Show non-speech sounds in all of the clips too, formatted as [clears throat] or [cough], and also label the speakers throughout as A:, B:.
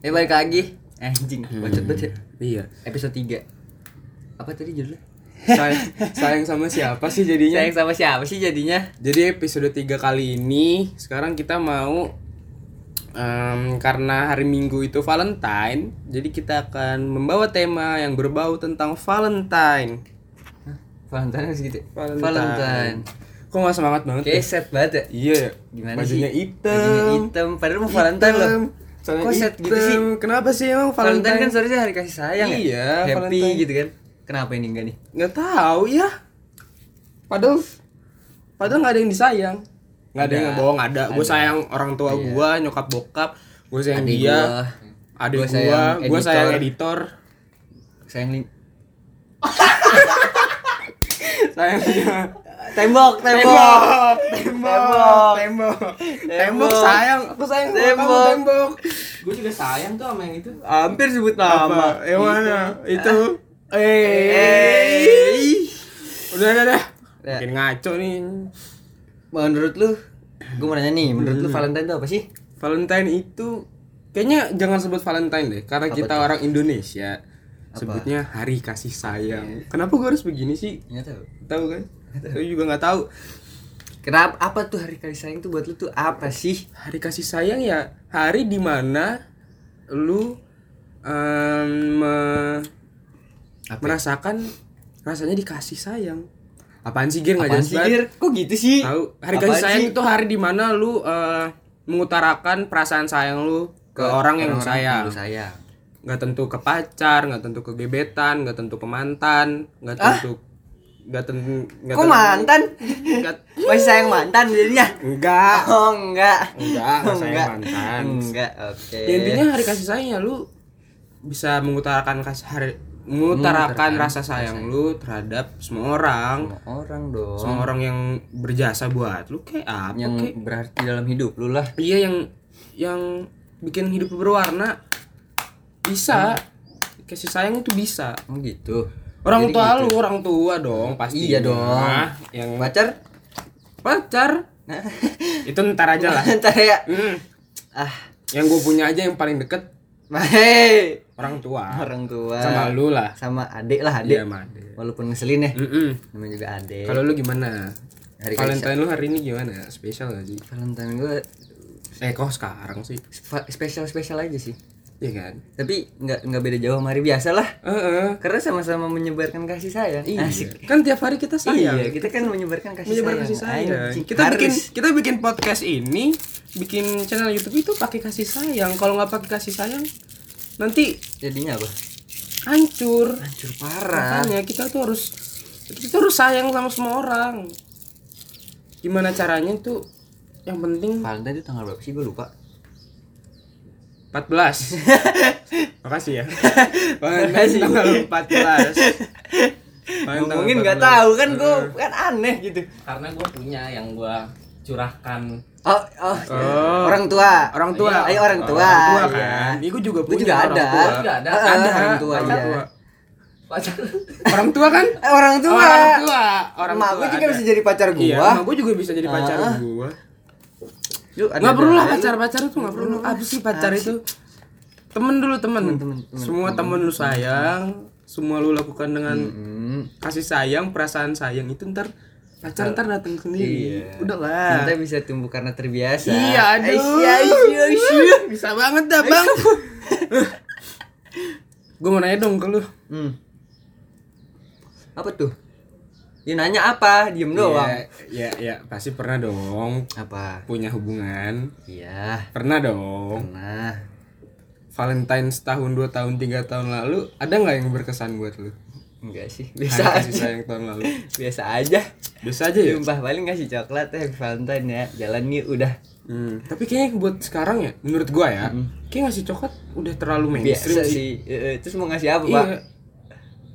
A: Ya balik lagi. Anjing,
B: Hmm.
A: bacot banget ya.
B: Iya.
A: Episode 3. Apa tadi judulnya?
B: Sayang, sayang sama siapa sih jadinya?
A: Sayang sama siapa sih jadinya?
B: Jadi episode 3 kali ini sekarang kita mau em, karena hari Minggu itu Valentine, jadi kita akan membawa tema yang berbau tentang Valentine.
A: Valentine harus gitu.
B: Valentine.
A: Valentine.
B: Kok nggak semangat banget? ya?
A: Kayak set banget ya.
B: Iya ya.
A: Gimana
B: Bajunya
A: sih?
B: hitam.
A: Bajunya hitam. Padahal mau Valentine loh.
B: Hitam. Celana
A: Kok set gitu
B: hitam.
A: sih?
B: Kenapa sih emang
A: Valentine,
B: Valentine?
A: kan seharusnya hari kasih sayang ya.
B: Iya,
A: Happy
B: Valentine.
A: gitu kan. Kenapa ini enggak nih?
B: nggak tahu ya. Padahal padahal nggak ada yang disayang. Nggak ada yang
A: Ada.
B: bohong ada. Gue
A: Ada.
B: sayang orang tua
A: Iya.
B: gua, nyokap bokap, gue sayang
A: Adik
B: dia.
A: gua.
B: Adik
A: Gua
B: gua,
A: sayang editor.
B: gua sayang editor. [laughs]
A: Sayang ling-
B: Sayang dia.
A: Tembok, tembok.
B: Tembok, tembok, tembok, tembok, sayang, aku sayang sama kamu,
A: Tembok.
B: tembok.
C: Gue juga sayang tuh sama yang itu.
B: Hampir sebut nama. Yang mana? Itu.
A: Gitu. Eh.
B: Eh. Udah, udah, udah.
A: Ya.
B: Makin ngaco nih.
A: Menurut lu, gue mau nanya nih, menurut lu
B: Hmm.
A: Valentine itu apa sih?
B: Valentine itu kayaknya jangan sebut Valentine deh karena
A: Apa
B: kita
A: tuh?
B: orang Indonesia. Sebutnya hari kasih
A: Iya,
B: sayang. Kenapa gue harus begini sih?
A: Nggak tahu.
B: Tahu kan? Gue juga nggak tahu.
A: Kenapa apa tuh hari kasih sayang tuh buat lu tuh apa sih?
B: Hari kasih sayang ya hari dimana lu em, me- merasakan rasanya dikasih sayang. Apaan sih Gir nggak
A: Apaan
B: jelas
A: sih,
B: banget.
A: Gir? Kok gitu sih?
B: Tahu, hari
A: Apaan
B: kasih sayang
A: sih?
B: itu hari dimana lu eh, mengutarakan perasaan sayang lu ke, orang yang lu
A: orang-orang
B: sayang.
A: lu sayang.
B: Nggak tentu ke pacar, nggak tentu ke gebetan, nggak tentu ke mantan, nggak tentu nggak tentu
A: Ah.
B: nggak
A: Kok
B: tentu-
A: mantan?
B: nggak
A: [laughs] Masih sayang mantan jadinya?
B: enggak
A: Oh, enggak.
B: Enggak, nggak sayang
A: Enggak.
B: mantan.
A: Enggak, oke.
B: Ya, intinya hari kasih sayang ya lu bisa mengutarakan kas hari mengutarakan rasa sayang lu terhadap semua orang
A: Sama orang dong.
B: semua orang yang berjasa buat lu kayak apa
A: Oh. yang
B: kayak
A: berarti dalam hidup lu lah.
B: Iya yang yang bikin hidup lu berwarna bisa
A: Hmm.
B: kasih sayang itu bisa.
A: Oh gitu.
B: Orang
A: Jadi
B: tua
A: gitu.
B: lu orang tua dong pasti. Nah,
A: Iya dong.
B: Yang
A: Pacar?
B: pacar [laughs] itu ntar aja lah.
A: [laughs] Ntar ya.
B: Hmm.
A: Ah,
B: Yang gue punya aja yang paling deket
A: hei.
B: orang tua
A: Orang tua.
B: sama lu lah.
A: sama adik lah adik.
B: Iya sama adek.
A: Walaupun ngeselin ya.
B: Mm-mm.
A: Namanya juga adik.
B: Kalau lu gimana?
A: Hari
B: Valentine lu hari ini gimana? Spesial gak sih?
A: Valentine gue
B: Eh kok sekarang sih?
A: spesial spesial aja sih
B: Iya kan?
A: tapi nggak nggak beda jauh sama hari biasa lah
B: Eh, eh.
A: karena sama-sama menyebarkan kasih sayang
B: Iya.
A: Asik.
B: Kan tiap hari kita sayang.
A: iya kita kan menyebarkan kasih
B: menyebar
A: sayang
B: kasih sayang.
A: Anjing,
B: Kita
A: harus.
B: bikin kita bikin podcast ini, bikin channel YouTube itu pakai kasih sayang. Kalau nggak pakai kasih sayang, nanti
A: jadinya apa
B: hancur.
A: hancur parah
B: Makanya kita tuh harus kita harus sayang sama semua orang. Gimana caranya tuh? Yang penting
A: Valentine itu tanggal berapa sih gue lupa
B: 14. [laughs] Makasih ya. Makasih tanggal 14. Valentine
A: ngomongin nggak
B: 14.
A: tahu kan gue kan aneh gitu
C: Karena gue punya yang gue curahkan.
A: oh, oh,
B: Oh.
A: orang tua
B: Orang tua. Oh,
A: Iya, ayo orang tua
B: Orang tua
A: iya.
B: kan. Iya, gua juga
A: Gua
B: punya
A: juga
B: orang
A: ada
B: tua.
C: Juga ada.
A: Eh, eh,
B: Ada
A: orang tua
B: orang
A: iya.
B: tua.
C: Pacar.
B: Orang tua kan?
A: Eh, orang tua
B: Orang tua. Orang
A: Emak
B: tua
A: gua juga
B: ada.
A: bisa jadi pacar gua
B: Iya, emak gua juga bisa jadi pacar
A: Ah.
B: gua.
A: Yuk, ada-
B: Nggak perlu lah
A: ada-
B: pacar-pacar itu nggak perlu. Apa sih pacar itu? Temen dulu temen.
A: temen, temen,
B: semua temen, lu sayang, semua lu lakukan dengan
A: Hmm.
B: kasih sayang, perasaan sayang itu ntar pacar ntar datang sendiri.
A: Iya.
B: Udahlah.
A: Cinta bisa tumbuh karena terbiasa.
B: Iya, aduh.
A: Aisyah, Aisyah, Aisyah.
B: Bisa banget dah, Bang. [laughs] gue mau nanya dong ke lu.
A: Hmm. Apa tuh? Ya nanya apa? Diem doang.
B: Iya, iya, iya, pasti pernah dong
A: Apa?
B: punya hubungan.
A: Iya.
B: Pernah dong.
A: Pernah.
B: Valentine setahun, dua tahun, tiga tahun lalu ada nggak yang berkesan buat lu?
A: Enggak sih.
B: Hari
A: Biasa
B: kasih
A: aja. Iya,
B: sayang tahun lalu.
A: Biasa aja.
B: Biasa aja ya.
A: Sumpah paling ngasih coklat ya Valentine ya. Jalan yuk udah.
B: Hmm, Tapi kayaknya buat sekarang ya, menurut gua ya, kayak ngasih coklat udah terlalu
A: Biasa
B: mainstream sih.
A: sih. Eh, eh, Terus mau ngasih apa, Pak?
B: Iya.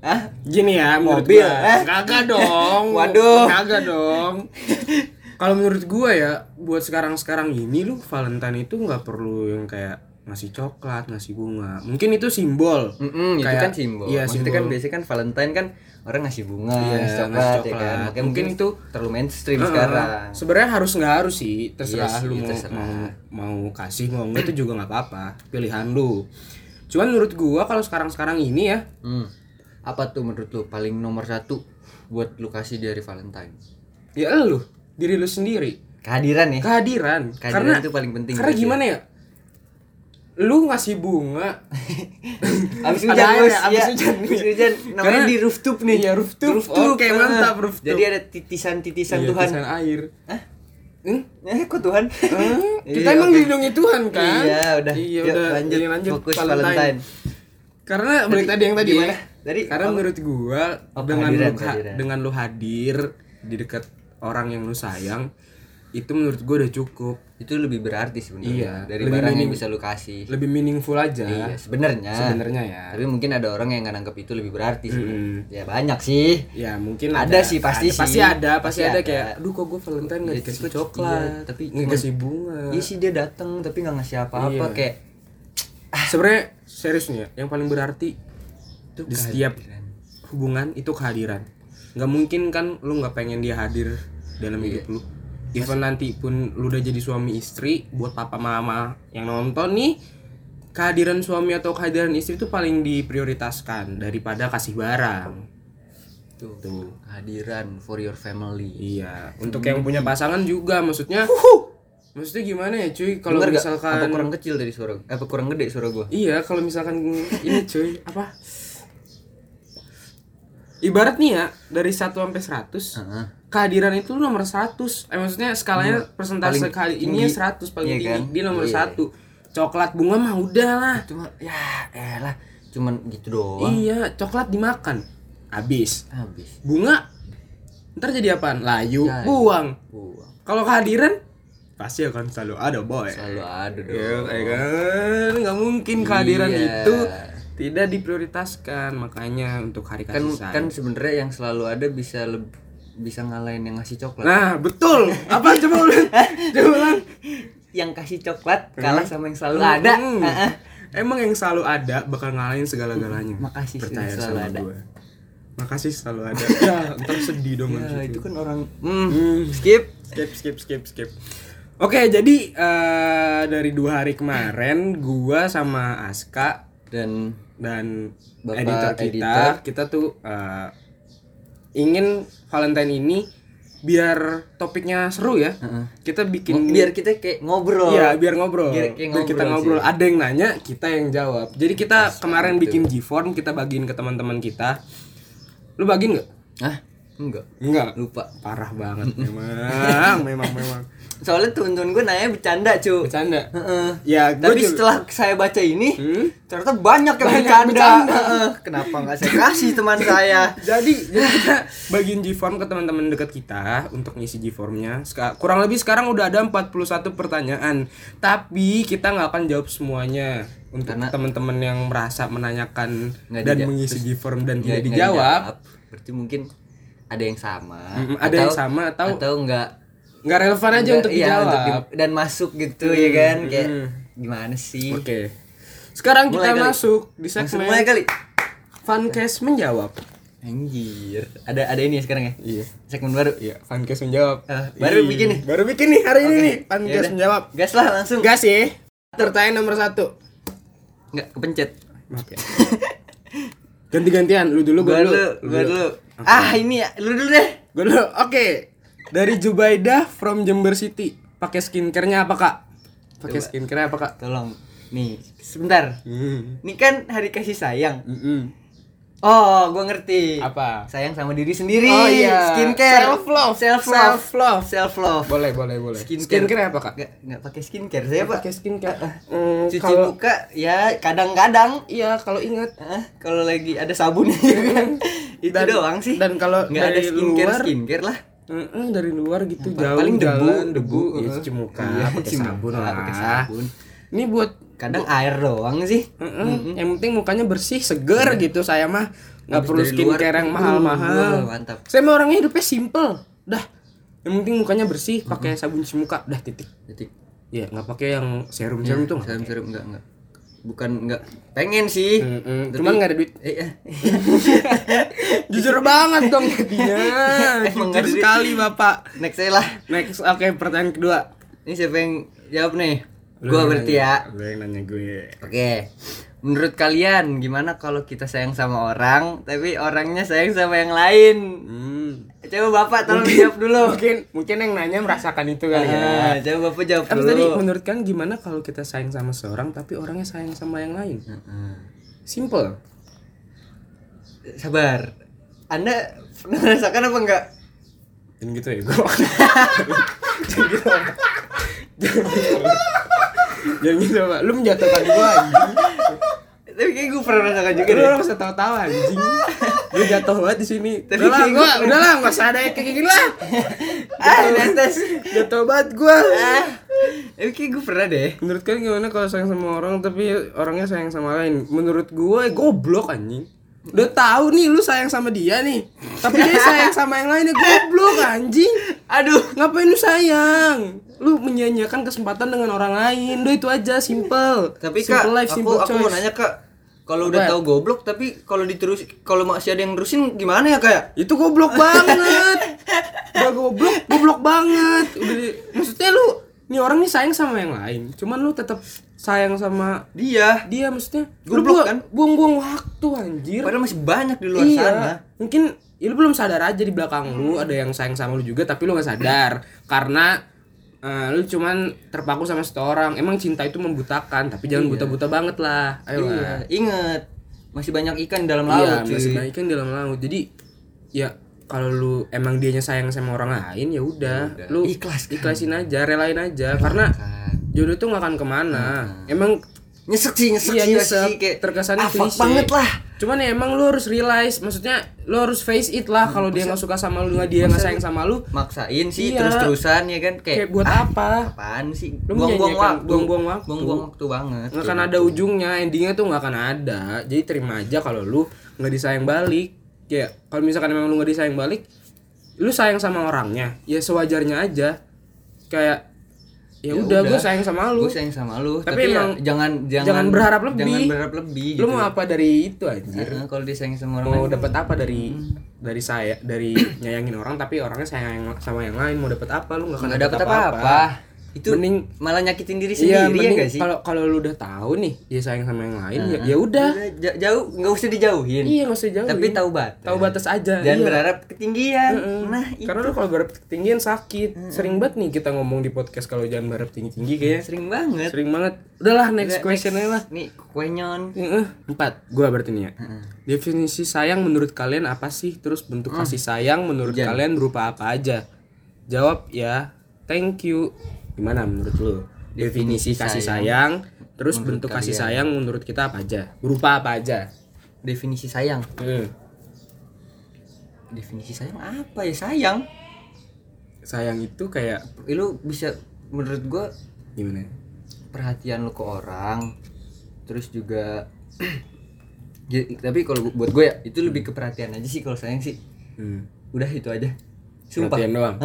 A: Hah?
B: Gini ya, menurut
A: Mobil,
B: gua.
A: eh?
B: Kagak dong.
A: [laughs] Waduh.
B: Kagak
A: [laughs]
B: dong. Kalau menurut gua ya, buat sekarang-sekarang ini lu Valentine itu nggak perlu yang kayak ngasih coklat ngasih bunga mungkin itu simbol
A: Mm-mm, itu
B: Kayak-
A: kan simbol.
B: iya,
A: Maksudnya kan
B: simbol.
A: biasanya kan Valentine kan orang ngasih bunga,
B: Iya,
A: ngasih coklat,
B: ngasih
A: ya kan.
B: coklat.
A: Makanya
B: Mungkin
A: mungkin itu terlalu mainstream
B: Heeh.
A: sekarang.
B: Sebenarnya harus nggak harus sih, terserah
A: Iya sih,
B: lu mau,
A: terserah.
B: mau mau kasih mau enggak itu juga nggak apa-apa, pilihan lu. Cuman menurut gua kalau sekarang-sekarang ini ya,
A: Hmm. Apa tuh menurut lu paling nomor satu buat lu kasih dari Valentine?
B: ya lu, diri lu sendiri,
A: Kehadiran ya.
B: kehadiran.
A: Kehadiran
B: karena
A: itu paling penting.
B: karena
A: menurut
B: gimana ya? Lu ngasih
A: [laughs]
B: bunga,
A: dia. Abis
B: Ada
A: hujan,
B: air
A: bos.
B: ya, abis
A: Iya,
B: hujan.
A: abis hujan. Namanya
B: Karena-
A: di rooftop nih.
B: Iya, rooftop. Oke,
A: heeh.
B: mantap, rooftop.
A: Jadi ada titisan-titisan
B: iya,
A: Tuhan.
B: tulisan air.
A: Hah?
B: Hmm?
A: [laughs] Eh, kok Tuhan?
B: Eh, kita
A: Iya,
B: emang
A: oke.
B: dilindungi Tuhan kan?
A: Iya, udah.
B: Iya,
A: Yuk,
B: udah.
A: lanjut,
B: Iya, lanjut.
A: fokus
B: Valentine.
A: Valentine.
B: Karena balik tadi yang tadi
A: gimana?
B: ya.
A: Tadi
B: karena
A: apa?
B: menurut gua
A: Oh,
B: dengan lu
A: kehadiran,
B: ha-
A: kehadiran.
B: dengan lu hadir di dekat orang yang lu sayang itu menurut gua udah cukup.
A: itu lebih berarti sebenarnya
B: Iya,
A: dari
B: lebih
A: barang yang
B: minim-
A: bisa lu kasih.
B: Lebih meaningful aja
A: Iya, sebenarnya.
B: sebenarnya ya.
A: Tapi mungkin ada orang yang nggak nangkep itu lebih berarti sih.
B: Mm-mm.
A: Ya banyak sih.
B: Ya mungkin
A: Ada sih, pasti
B: ada,
A: sih.
B: Pasti ada, pasti,
A: Pasti
B: ada,
A: ada.
B: kayak aduh kok gua Valentine enggak
A: Iya,
B: dikasih
A: cukup,
B: coklat,
A: iya, tapi
B: nggak
A: cuman-
B: dikasih bunga.
A: Iya sih dia datang tapi nggak ngasih apa-apa
B: Iya.
A: kayak
B: Sebenarnya serius nih ya, yang paling berarti
A: itu
B: Di setiap
A: kehadiran.
B: hubungan itu kehadiran. Nggak mungkin kan lu nggak pengen dia hadir dalam
A: Iya.
B: hidup lu. Even nanti pun lu udah jadi suami istri, buat papa mama yang nonton nih, kehadiran suami atau kehadiran istri itu paling diprioritaskan daripada kasih barang.
A: Tuh,
B: Tuh.
A: kehadiran for your family.
B: Iya, untuk yang punya pasangan juga maksudnya. Maksudnya gimana ya, cuy? Kalau
A: Dengar nggak? apa
B: misalkan
A: kurang kecil dari suara apa kurang gede suara gua?
B: Iya, kalau misalkan ini cuy, apa? Ibarat nih ya, dari 1 sampai 100,
A: Heeh.
B: kehadiran itu nomor 100. Eh maksudnya skalanya persentase
A: Iya. paling
B: kali
A: tinggi.
B: ini 100 paling
A: Iya
B: tinggi.
A: kan?
B: Dia nomor
A: Iya.
B: satu. Coklat bunga mah udah lah.
A: Cuma ya elah cuman gitu doang.
B: Iya, coklat dimakan. Habis.
A: Habis.
B: Bunga ntar jadi apaan? Layu,
A: Layu.
B: buang.
A: Buang.
B: Kalau kehadiran pasti akan selalu ada, boy.
A: Selalu ada dong.
B: Ya, ya kan nggak mungkin kehadiran
A: Iya.
B: itu tidak diprioritaskan makanya untuk hari
A: Kan
B: kasih
A: kan
B: sayang.
A: sebenarnya yang selalu ada bisa leb- bisa ngalahin yang ngasih coklat.
B: nah betul apa coba
A: [laughs]
B: ulang coba ulang
A: yang kasih coklat kalah sama yang selalu ada. [laughs] Uh-uh.
B: Hmm.
A: Heeh.
B: emang yang selalu ada bakal ngalahin segala-galanya
A: Hmm, Makasih sih,
B: percaya
A: selalu
B: sama
A: ada.
B: gua. makasih selalu ada [laughs] ya ntar sedih dong
A: Ya,
B: abis
A: itu
B: itu.
A: kan orang Hmm,
B: Hmm.
A: skip.
B: skip skip skip skip oke jadi eh, dari dua hari kemarin gua sama Aska
A: Dan
B: dan
A: Bapak
B: editor kita
A: editor.
B: kita tuh uh, ingin Valentine ini biar topiknya seru ya
A: Heeh.
B: kita bikin
A: biar kita kayak ngobrol.
B: Iya, biar ngobrol
A: Biar
B: biar,
A: kayak
B: kita
A: ngobrol
B: ngobrol
A: sih. gitu.
B: ada yang nanya kita yang jawab jadi kita kemarin bikin G form kita bagiin ke teman-teman kita lu bagiin nggak
A: Hah? Enggak.
B: nggak
A: Lupa.
B: parah banget memang [laughs] memang memang
A: Soalnya temen-temen gue nanya bercanda, Iya, cu.
B: bercanda
A: Heeh.
B: ya gua
A: Tapi
B: juga-
A: setelah saya baca ini,
B: Hmm?
A: ternyata banyak yang bercanda. Heeh. Kenapa nggak saya kasih teman saya?
B: jadi jadi kita [laughs] bagiin G-form ke teman-teman dekat kita untuk ngisi G-formnya. Seka- Kurang lebih sekarang udah ada 41 pertanyaan, tapi kita nggak akan jawab semuanya. Untuk
A: Karena-
B: teman-teman yang merasa menanyakan
A: Nggak
B: dan
A: dija-
B: mengisi G-form dan
A: Nggak-
B: tidak
A: nggak
B: dijawab,
A: Berarti mungkin ada yang sama.
B: Mm, ada yang sama atau
A: atau enggak
B: nggak relevan aja untuk dijawab.
A: dan masuk gitu ya kan kayak
B: hmm.
A: gimana sih?
B: Oke. Sekarang
A: Mulai
B: kita
A: kali.
B: masuk di
A: Langsung
B: segmen
A: mulai kali.
B: Fancast menjawab.
A: Anjir. Ada ada ini ya sekarang ya.
B: Iya.
A: Segmen baru.
B: Iya, Fancast menjawab.
A: Ah, baru
B: Ih,
A: bikin nih.
B: Eh, iya. Baru iya bikin nih hari ini
A: Oke,
B: nih Fancast
A: yaudah.
B: menjawab.
A: Gas lah langsung.
B: Gas ya. Pertanyaan nomor satu.
A: Enggak kepencet.
B: Maaf ya. Ganti-gantian, lu dulu,
A: Gua
B: gua
A: dulu, gua dulu. Ah, ini ya. Lu dulu deh.
B: Gua dulu. Oke. Dari Jubaidah from Jember City. Pakai skincare-nya apa, Kak? Pakai skincare apa, Kak?
A: Tolong. Nih, sebentar.
B: Hmm.
A: Ini kan hari kasih sayang.
B: Mm-mm.
A: Oh, gua ngerti.
B: Apa?
A: Sayang sama diri sendiri.
B: Oh, iya.
A: Skincare.
B: Self love.
A: Self love.
B: Self love.
A: Self love.
B: Boleh, boleh, boleh.
A: Skincare.
B: apa, Kak?
A: Enggak enggak pakai skincare saya, Pak.
B: Pakai skincare. Hmm,
A: Cuci
B: kalau
A: muka ya kadang-kadang.
B: iya, kalau ingat
A: Hah? kalau lagi ada [laughs] sabunnya kan. Itu
B: Dan-
A: doang sih.
B: dan kalau
A: nggak ada
B: dari
A: skincare
B: luar-
A: skincare lah.
B: Mm-mm, dari luar gitu jauh
A: paling debu,
B: jalan,
A: debu, eh.
B: Iya, cuci muka,
A: Iya,
B: pakai
A: cuci
B: sabun
A: muka,
B: lah.
A: pakai sabun.
B: Ini buat
A: Kadang air doang sih.
B: Heeh, Yang penting mukanya bersih, seger gitu. Saya mah nggak
A: Iya. Habis
B: perlu
A: dari
B: skincare
A: luar,
B: yang
A: uh,
B: mahal-mahal.
A: mantap.
B: Saya mah orangnya hidupnya simple. Dah. Yang penting mukanya bersih, pakai sabun cuci muka, dah titik.
A: Titik.
B: Iya, nggak pakai yang serum-serum tuh. nggak
A: Serum
B: pakai.
A: serum enggak enggak. bukan nggak pengen sih
B: Mm-mm.
A: Tapi-
B: Cuman nggak ada duit.
A: Eh, eh.
B: Jujur banget dong jadinya.
A: [laughs] Emang nggak ada
B: Jujur
A: duit.
B: sekali Bapak.
A: [laughs] next saya lah
B: Next, oke pertanyaan kedua.
A: ini siapa yang jawab nih
B: Lu
A: gua
B: yang
A: berarti ya
B: nanya- Lu yang nanya gue.
A: Oke, menurut kalian gimana kalau kita sayang sama orang, tapi orangnya sayang sama yang lain?
B: Hmm.
A: Coba bapak tolong jawab
B: [laughs]
A: dulu.
B: Mungkin mungkin yang nanya merasakan itu kali ya.
A: Ah, coba bapak jawab
B: Tapi
A: dulu.
B: tadi menurut kan gimana kalau kita sayang sama seorang tapi orangnya sayang sama yang lain? Simple.
A: Sabar. Anda pernah merasakan apa enggak?
B: Dan gitu [laughs] ya gitu, gue. Jangan gitu pak, lu menjatuhkan gua anjing
A: Tapi kayak gue pernah merasakan juga
B: Lu
A: deh.
B: orang usah tawa-tawa anjing Lu jatuh banget di sini
A: Tapi
B: Udah lah,
A: kayak
B: gua,
A: gua-
B: udah lah, gak usah ada yang kayak gini lah
A: Ah, di atas.
B: Jatuh banget gua
A: Ah. Tapi kayak gue pernah deh.
B: Menurut kalian gimana kalau sayang sama orang tapi orangnya sayang sama lain? Menurut gua eh, goblok anjing. Udah tahu nih lu sayang sama dia nih, tapi dia sayang sama yang lainnya goblok anjing.
A: Aduh.
B: Ngapain lu sayang? Lu menyia-nyiakan kesempatan dengan orang lain. Udah itu aja simple.
A: Tapi kak,
B: simple life,
A: aku
B: simple
A: aku mau
B: choice.
A: nanya kak, kalau udah
B: Apa?
A: tahu goblok tapi kalau diterus kalau masih ada yang nerusin gimana ya kayak?
B: Itu goblok banget. Udah goblok, goblok banget. Udah di- maksudnya lu nih orang nih sayang sama yang lain. Cuman lu tetap sayang sama
A: Dia.
B: dia maksudnya lu
A: Goblok,
B: buang-
A: kan?
B: buang-buang waktu anjir
A: Padahal masih banyak di
B: Iya.
A: luar sana.
B: mungkin ya lu belum sadar aja di belakang lu ada yang sayang sama lu juga tapi lu nggak sadar karena eh, lu cuman terpaku sama satu orang emang cinta itu membutakan tapi jangan buta-buta banget lah ayo
A: Iya,
B: lah
A: inget masih banyak ikan dalam laut.
B: iya
A: cuy.
B: masih banyak kan dalam laut jadi ya kalau lu emang dianya sayang sama orang lain ya udah
A: Ya udah.
B: lu
A: Ikhlaskan.
B: ikhlasin aja relain aja karena
A: Kan.
B: jodoh tuh nggak akan kemana
A: Nah.
B: emang
A: Nyesek sih, nyesek
B: Iya
A: sih,
B: nyesek,
A: sih, kayak
B: terkesannya
A: ah, fuck
B: klise.
A: banget lah.
B: Cuman ya emang lu harus realize, maksudnya lu harus face it lah kalau dia nggak suka sama lu, nggak dia nggak sayang sama lu,
A: Maksain sih
B: Iya.
A: terus-terusan ya kan kayak,
B: kayak buat apa?
A: apaan sih?
B: Lu
A: Buang-buang
B: menyanyiakan-
A: waktu,
B: buang-buang waktu.
A: buang-buang waktu banget.
B: Nggak akan ada ujungnya, endingnya tuh nggak akan ada. Jadi terima aja kalau lu nggak disayang balik. Kayak kalau misalkan emang lu nggak disayang balik, lu sayang sama orangnya, ya sewajarnya aja. Kayak ya
A: Ya
B: udah
A: udah.
B: gue sayang sama lu.
A: Gue sayang sama lu,
B: Tapi
A: tapi, ya
B: emang
A: jangan jangan
B: jangan berharap lebih.
A: Jangan berharap lebih
B: Lu mau apa dari itu anjir?
A: Heeh, kalau dia sayang sama orang
B: mau
A: lain,
B: dapat apa dari dari saya dari nyayangin orang tapi orangnya sayang sama yang lain mau dapat apa lu nggak akan
A: nggak dapat apa-apa. Itu
B: Mending-
A: malah nyakitin diri
B: iya
A: sendiri ya
B: mending
A: nggak sih?
B: kalau kalau lu udah tahu nih dia sayang sama yang lain ya ya udah
A: Ja- jauh nggak usah dijauhin.
B: iya nggak usah jauh
A: Tapi tahu batas.
B: tahu batas aja
A: Jangan
B: iya.
A: berharap ketinggian.
B: Heeh.
A: Nah, itu
B: karena lu kalau berharap ketinggian sakit sering banget nih kita ngomong di podcast kalau jangan berharap tinggi
A: Iya.
B: tinggi kayaknya
A: sering banget.
B: sering banget udahlah next question aja lah
A: Nih, kuenyon.
B: Heeh. Empat, gua berarti nih ya. Definisi sayang menurut kalian apa sih? Terus bentuk kasih sayang menurut
A: Hmm. Hujan.
B: kalian berupa apa aja? Jawab ya. Thank you. Gimana menurut lu?
A: Definisi
B: Definisi, kasih sayang, terus bentuk kasih sayang menurut kita apa aja? Berupa apa aja? Hmm.
A: Definisi sayang.
B: Heeh.
A: Definisi sayang apa ya sayang?
B: Sayang itu kayak
A: Eh, Lu bisa menurut gua
B: gimana?
A: perhatian lu ke orang terus juga [clears throat] Ya, tapi kalau bu- buat gue ya itu lebih ke perhatian aja sih kalau sayang sih
B: Hmm.
A: udah itu aja sumpah
B: Perhatian doang.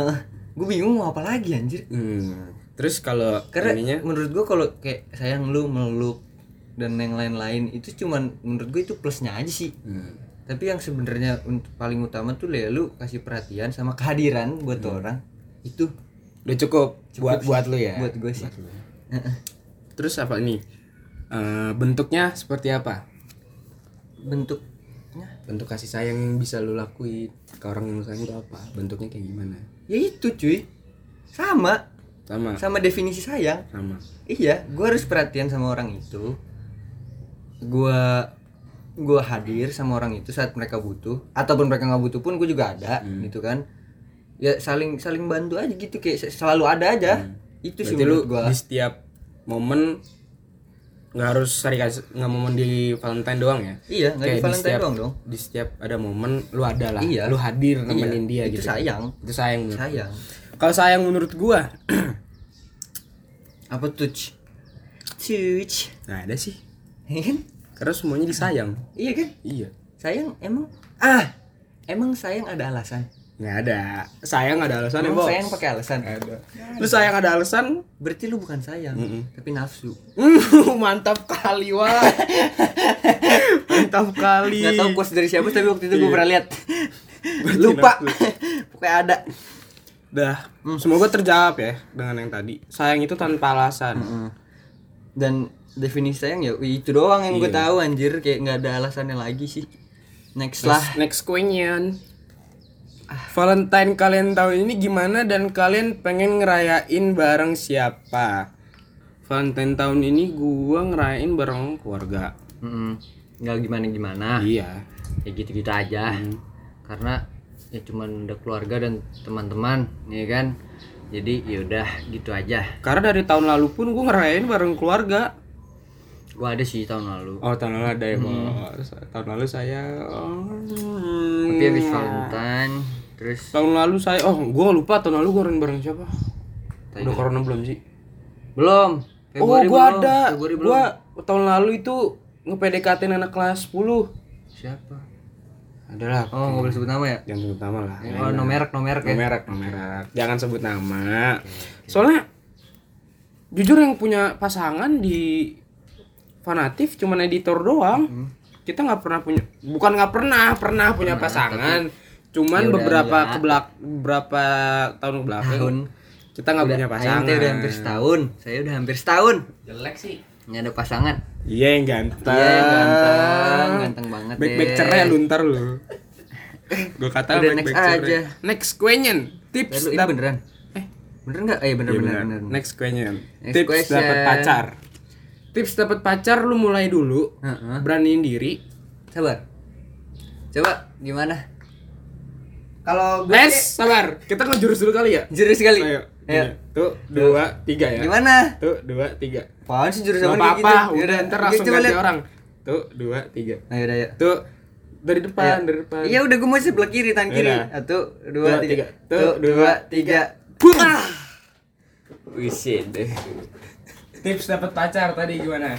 A: gue bingung mau apa lagi anjir
B: Hmm. Terus kalau
A: karena
B: ininya
A: menurut gue kalau kayak sayang lu meluk dan yang lain-lain itu cuman menurut gue itu plusnya aja sih
B: Hmm.
A: tapi yang sebenarnya untuk paling utama tuh ya lu kasih perhatian sama kehadiran buat
B: Hmm.
A: orang itu
B: udah cukup, buat
A: sih.
B: buat lu ya.
A: buat gue sih Heeh.
B: Terus apa nih? Eh, bentuknya seperti apa?
A: bentuknya
B: bentuk kasih sayang yang bisa lu lakuin ke orang yang lu sayang itu apa bentuknya kayak gimana
A: ya itu cuy sama
B: sama
A: sama definisi sayang
B: sama
A: iya gue harus perhatian sama orang itu gue gue hadir sama orang itu saat mereka butuh ataupun mereka nggak butuh pun gue juga ada
B: Hmm.
A: gitu kan ya saling saling bantu aja gitu kayak se- selalu ada aja itu sih
B: Hmm. berarti lu
A: menurut gue
B: di setiap momen nggak harus hari kasih nggak momen di Valentine doang ya
A: iya nggak di
B: Kayak
A: Valentine
B: setiap,
A: doang dong
B: di setiap ada momen lu ada lah
A: Iya.
B: lu hadir nemenin
A: Iya,
B: dia
A: itu
B: gitu Hmm.
A: sayang.
B: itu sayang menurut-
A: sayang
B: kalau sayang menurut gua [clears throat]
A: apa touch touch
B: nah ada sih
A: Iya kan
B: karena semuanya disayang
A: iya kan
B: iya
A: sayang emang ah emang sayang ada alasan
B: nggak ada sayang ada alasan ya
A: Emang
B: bos
A: sayang pakai alasan.
B: ada lu sayang ada alasan
A: Berarti lu bukan sayang, tapi nafsu.
B: Hmm, mantap kali wah mantap kali
A: Gak tau quotes dari siapa tapi waktu itu gue pernah lihat.
B: Iya. [laughs] Berarti
A: Lupa.
B: nafsu.
A: [laughs] Pokoknya ada.
B: dah semoga terjawab ya dengan yang tadi sayang itu tanpa alasan
A: Dan definisi sayang ya itu doang yang
B: Iya.
A: gue tahu anjir kayak nggak ada alasannya lagi sih. Next lah.
B: Next question. Valentine kalian tahun ini gimana dan kalian pengen ngerayain bareng siapa? Valentine tahun ini gua ngerayain bareng keluarga.
A: Mm-mm. nggak gimana gimana.
B: Iya.
A: Ya gitu gitu aja. Karena ya cuman udah keluarga dan teman-teman, ya kan. Jadi yaudah gitu aja.
B: Karena dari tahun lalu pun gua ngerayain bareng keluarga.
A: Gue ada sih tahun lalu.
B: Oh tahun lalu ada ya bos. Tahun lalu saya. hmm,
A: Tapi habis Valentine, terus
B: Tahun lalu saya. Oh gua lupa tahun lalu gua ngerayain bareng siapa?
A: Tiger.
B: Udah corona belum sih?
A: belum.
B: oh gua
A: belum.
B: ada.
A: Februari belum.
B: Gua tahun lalu itu ngepdkt anak kelas 10
A: Siapa?
B: adalah
A: Oh nggak boleh sebut nama ya.
B: jangan sebut nama lah
A: Oh, no merek, no merek ya.
B: Iya, merek jangan sebut nama soalnya jujur yang punya pasangan di fanatif cuman editor doang kita nggak pernah punya bukan nggak pernah pernah punya pasangan cuman
A: Ya udah
B: beberapa
A: enggak.
B: kebelak beberapa tahun belakang
A: Tahun.
B: kita nggak punya pasangan
A: Ayang teh udah hampir setahun. Saya udah hampir setahun.
C: Jelek sih.
A: Nggak ada pasangan.
B: iya yang ganteng
A: Iya, yang ganteng, ganteng banget
B: baik baik
A: deh.
B: cerai lu ntar
A: [laughs]
B: lu gue kata
A: Udah,
B: baik-baik
A: next
B: cerai.
A: aja.
B: next question tips
A: Lalu ini
B: dap-
A: beneran.
B: Eh.
A: Bener nggak? Eh bener
B: Iya,
A: bener
B: benar.
A: bener.
B: Next question.
A: Next
B: Tips
A: question.
B: dapat pacar. Tips dapat pacar lu mulai dulu.
A: Heeh.
B: Beraniin diri.
A: Sabar. Coba gimana? Kalau gue
B: Les, sabar. Kita ngejurus dulu kali ya.
A: jurus sekali.
B: Ayo.
A: Ayo.
B: Ayo. Tuh, dua, tiga
A: Ya.
B: ya.
A: Gimana?
B: Tuh, dua, tiga.
A: Apaan sih jurus
B: Gak
A: apaan
B: apa-apa,
A: Ya
B: udah ntar
A: Oke,
B: langsung
A: coba
B: ganti
A: lihat.
B: orang. Tuh, dua, tiga.
A: Ayo udah yuk.
B: Tuh, dari depan, dari depan.
A: Iya udah gue mau sebelah kiri tangan kiri.
B: Udah.
A: Satu, dua,
B: Dua,
A: tiga.
B: tiga.
A: Satu,
B: Tuh,
A: dua,
B: dua,
A: tiga. Ah.
B: Buah!
C: Wisin deh.
B: Tips dapat pacar tadi gimana?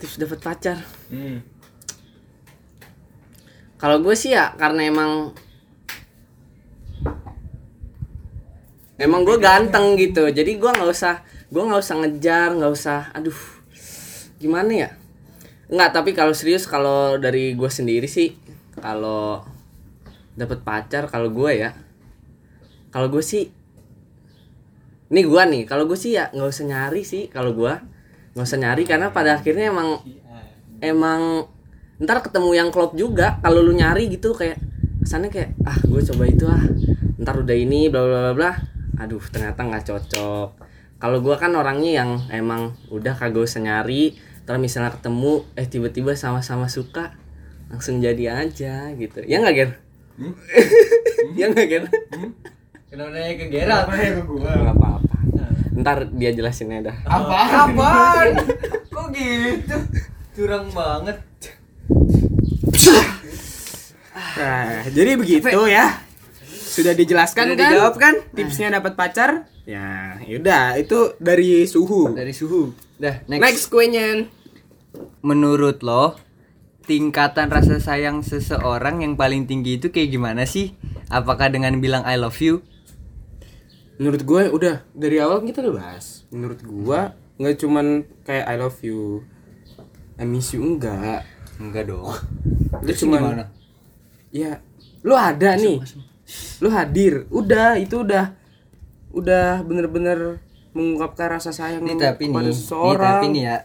C: Tips dapat pacar.
B: Hmm.
C: Kalau gue sih ya karena emang emang gue ganteng gitu. Jadi gue nggak usah gue nggak usah ngejar, nggak usah. Aduh, gimana ya? Nggak. Tapi kalau serius kalau dari gue sendiri sih kalau dapet pacar kalau gue ya kalau gue sih ini gue nih kalau gue sih ya nggak usah nyari sih kalau gue nggak usah nyari karena pada akhirnya emang emang ntar ketemu yang klop juga kalau lu nyari gitu kayak kesannya kayak ah gue coba itu ah ntar udah ini bla bla bla bla aduh ternyata nggak cocok kalau gua kan orangnya yang emang udah kagak usah nyari ntar misalnya ketemu eh tiba-tiba sama-sama suka langsung jadi aja gitu ya nggak ger [laughs] ya nggak ger
A: Kenapa nanya ke Gerald?
C: nggak apa-apa ntar dia jelasinnya dah
A: Apaan?
B: [laughs]
A: Apaan? Kok gitu? Curang banget.
B: Nah, jadi begitu ya. Sudah dijelaskan
A: Sudah
B: kan?
A: dijawab kan?
B: Tipsnya dapat pacar? Ya, yaudah itu dari suhu.
A: Dari suhu. Dah, next.
B: Next question.
A: Menurut lo, tingkatan rasa sayang seseorang yang paling tinggi itu kayak gimana sih? Apakah dengan bilang I love you?
B: Menurut gue udah dari awal kita udah bahas. Menurut gue nggak cuman kayak I love you, I miss you enggak.
A: Enggak dong.
B: Lu Oh. cuman ya lu ada nih. Lu hadir. Udah, itu udah udah bener-bener mengungkapkan rasa sayang
A: Ini
B: lu
A: tapi nih,
B: kepada
A: nih
B: seseorang.
A: tapi nih ya.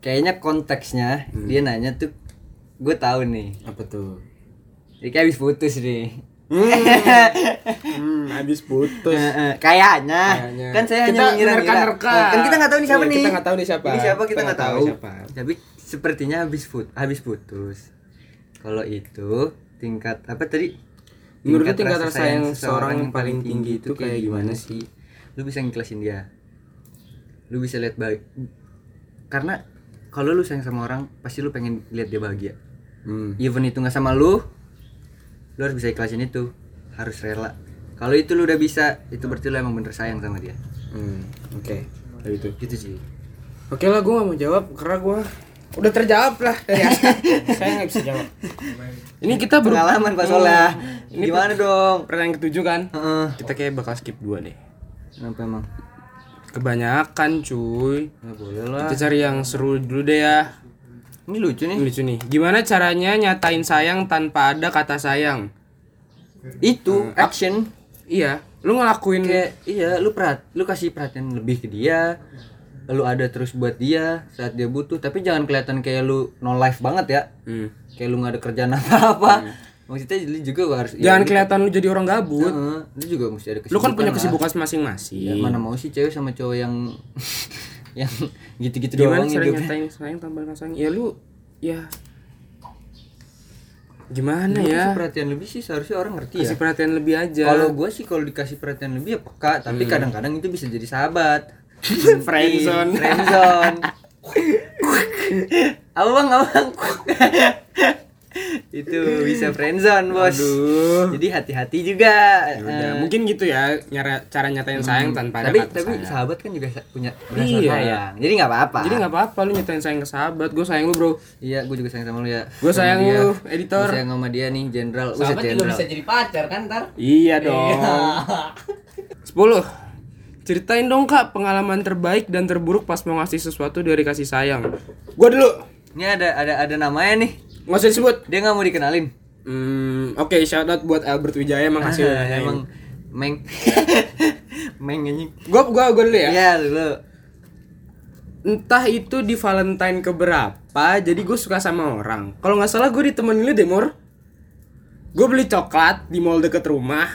A: Kayaknya konteksnya
B: Hmm.
A: dia nanya tuh gue tahu nih.
B: Apa tuh?
A: Jadi kayak habis putus nih.
B: Hmm, habis putus.
A: Heeh, kayaknya.
B: Kayaknya.
A: kan saya
B: Kita
A: hanya mengira-ngira
B: nerka-nerka.
A: Nah, kan kita nggak tahu nih siapa
B: Iya,
A: nih
B: kita nggak tahu nih siapa.
A: ini siapa kita nggak tahu,
B: siapa.
A: tapi sepertinya habis put habis putus kalau itu tingkat apa tadi
B: Menurut lu tingkat rasa sayang seseorang yang paling tinggi itu kayak gimana sih?
A: lu bisa ngikhlasin dia lu bisa lihat baik karena kalau lu sayang sama orang pasti lu pengen lihat dia bahagia
B: Hmm.
A: even itu nggak sama lu lu harus bisa ikhlasin itu harus rela kalau itu lu udah bisa itu berarti lu emang bener sayang sama dia
B: Hmm, oke. Kayak gitu.
A: gitu sih
B: Oke lah, gue gak mau jawab karena gue Udah terjawab lah dari Aska.
D: saya nggak bisa jawab
B: Ini kita ber Hmm.
A: Pengalaman Pak Solah. Gimana dong?
B: pertanyaan ketujuh kan?
A: Heeh.
B: Kita kayak bakal skip dua deh.
A: Kenapa emang?
B: Kebanyakan cuy.
A: Ya boleh lah.
B: Kita cari yang seru dulu deh ya.
A: Ini lucu nih.
B: Ini lucu nih. Gimana caranya nyatain sayang tanpa ada kata sayang? Hmm.
A: Itu action
B: Iya, lu ngelakuin
A: kayak iya lu perhat lu kasih perhatian lebih ke dia. Lu ada terus buat dia saat dia butuh, tapi jangan kelihatan kayak lu no life banget ya.
B: Hmm.
A: Kayak lu nggak ada kerjaan [laughs] apa-apa. Maksudnya lu juga harus ya,
B: Jangan kelihatan lu jadi orang gabut.
A: Heeh, lu juga mesti ada
B: Lu kan punya
A: lah.
B: kesibukan Iya.
A: Ya,
B: masing-masing.
A: mana mau sih cewek sama cowok yang [laughs] yang gitu-gitu
B: Gimana
A: doang
B: cara
A: hidupnya.
B: nyatain sayang tanpa kata sayang? Ya lu ya Gimana ya?
A: Kasih perhatian lebih sih seharusnya orang ngerti ya.
B: Kasih perhatian lebih aja.
A: Kalau gue sih kalau dikasih perhatian lebih ya peka, tapi
B: Hmm.
A: kadang-kadang itu bisa jadi
B: [laughs]
A: sahabat.
B: Friendzone.
A: Iya,
B: [laughs]
A: Friendzone. abang, abang. [laughs] itu bisa friendzone, Bos.
B: Aduh.
A: Jadi hati-hati juga.
B: Ya udah,
A: Eh,
B: mungkin gitu ya nyara, cara nyatain sayang tanpa ada
A: tapi
B: kata
A: tapi
B: sayang.
A: sahabat kan juga sa- punya punya
B: Iya.
A: sayang. Jadi nggak apa-apa.
B: Jadi nggak apa-apa lu nyatain sayang ke sahabat. Gue sayang lu, Bro.
A: Iya, gue juga sayang sama lu ya.
B: Gua
A: Sama
B: sayang
A: dia.
B: lu, editor.
A: Gua sayang sama dia nih, jenderal. Buset,
D: sahabat juga
A: jenderal.
D: bisa jadi pacar kan ntar
B: Iya dong. Sepuluh. Ceritain dong kak pengalaman terbaik dan terburuk pas mau ngasih sesuatu dari kasih sayang. Gua dulu.
A: Ini ada ada ada namanya nih.
B: Nggak usah disebut.
A: Dia nggak mau dikenalin.
B: Hmm, oke shout out buat Albert Wijaya emang kasih
A: Ah,
B: udah
A: [laughs] emang meng [laughs] meng anjing.
B: Gua gua gua dulu ya.
A: Iya, lu.
B: Entah itu di Valentine keberapa, jadi gue suka sama orang. Kalau nggak salah gue ditemenin lu Demor. Gue beli coklat di mall deket rumah.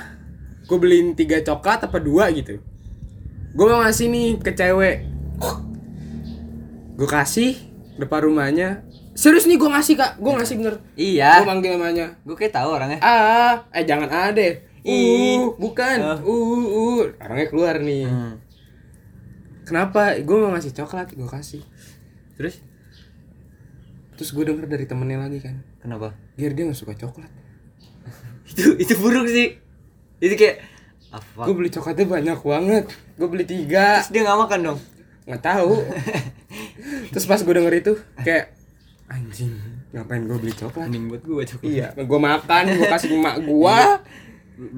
B: Gue beliin tiga coklat apa dua gitu. Gue mau ngasih nih ke cewek. Gue kasih depan rumahnya. Serius nih gue ngasih kak, gue ngasih bener. Gue
A: Iya.
B: manggil namanya.
A: Gue kayak tahu orangnya.
B: Ah, eh jangan A deh.
A: Ih.
B: Uh, bukan. Uh, uh, uh. Orangnya keluar nih.
A: Hmm.
B: Kenapa? Gue mau ngasih coklat, gue kasih.
A: Terus
B: Terus gue denger dari temennya lagi kan
A: kenapa?
B: Biar dia gak suka coklat
A: itu itu buruk sih. Itu kayak apa?
B: Gue beli coklatnya banyak banget Gue beli tiga
A: Terus dia nggak makan dong.
B: Gak [laughs] tahu. Terus pas gue denger itu Kayak Anjing Ngapain gue beli coklat
A: Mending buat Ah. gue coklat.
B: Iya Gue makan Gue kasih ke emak gue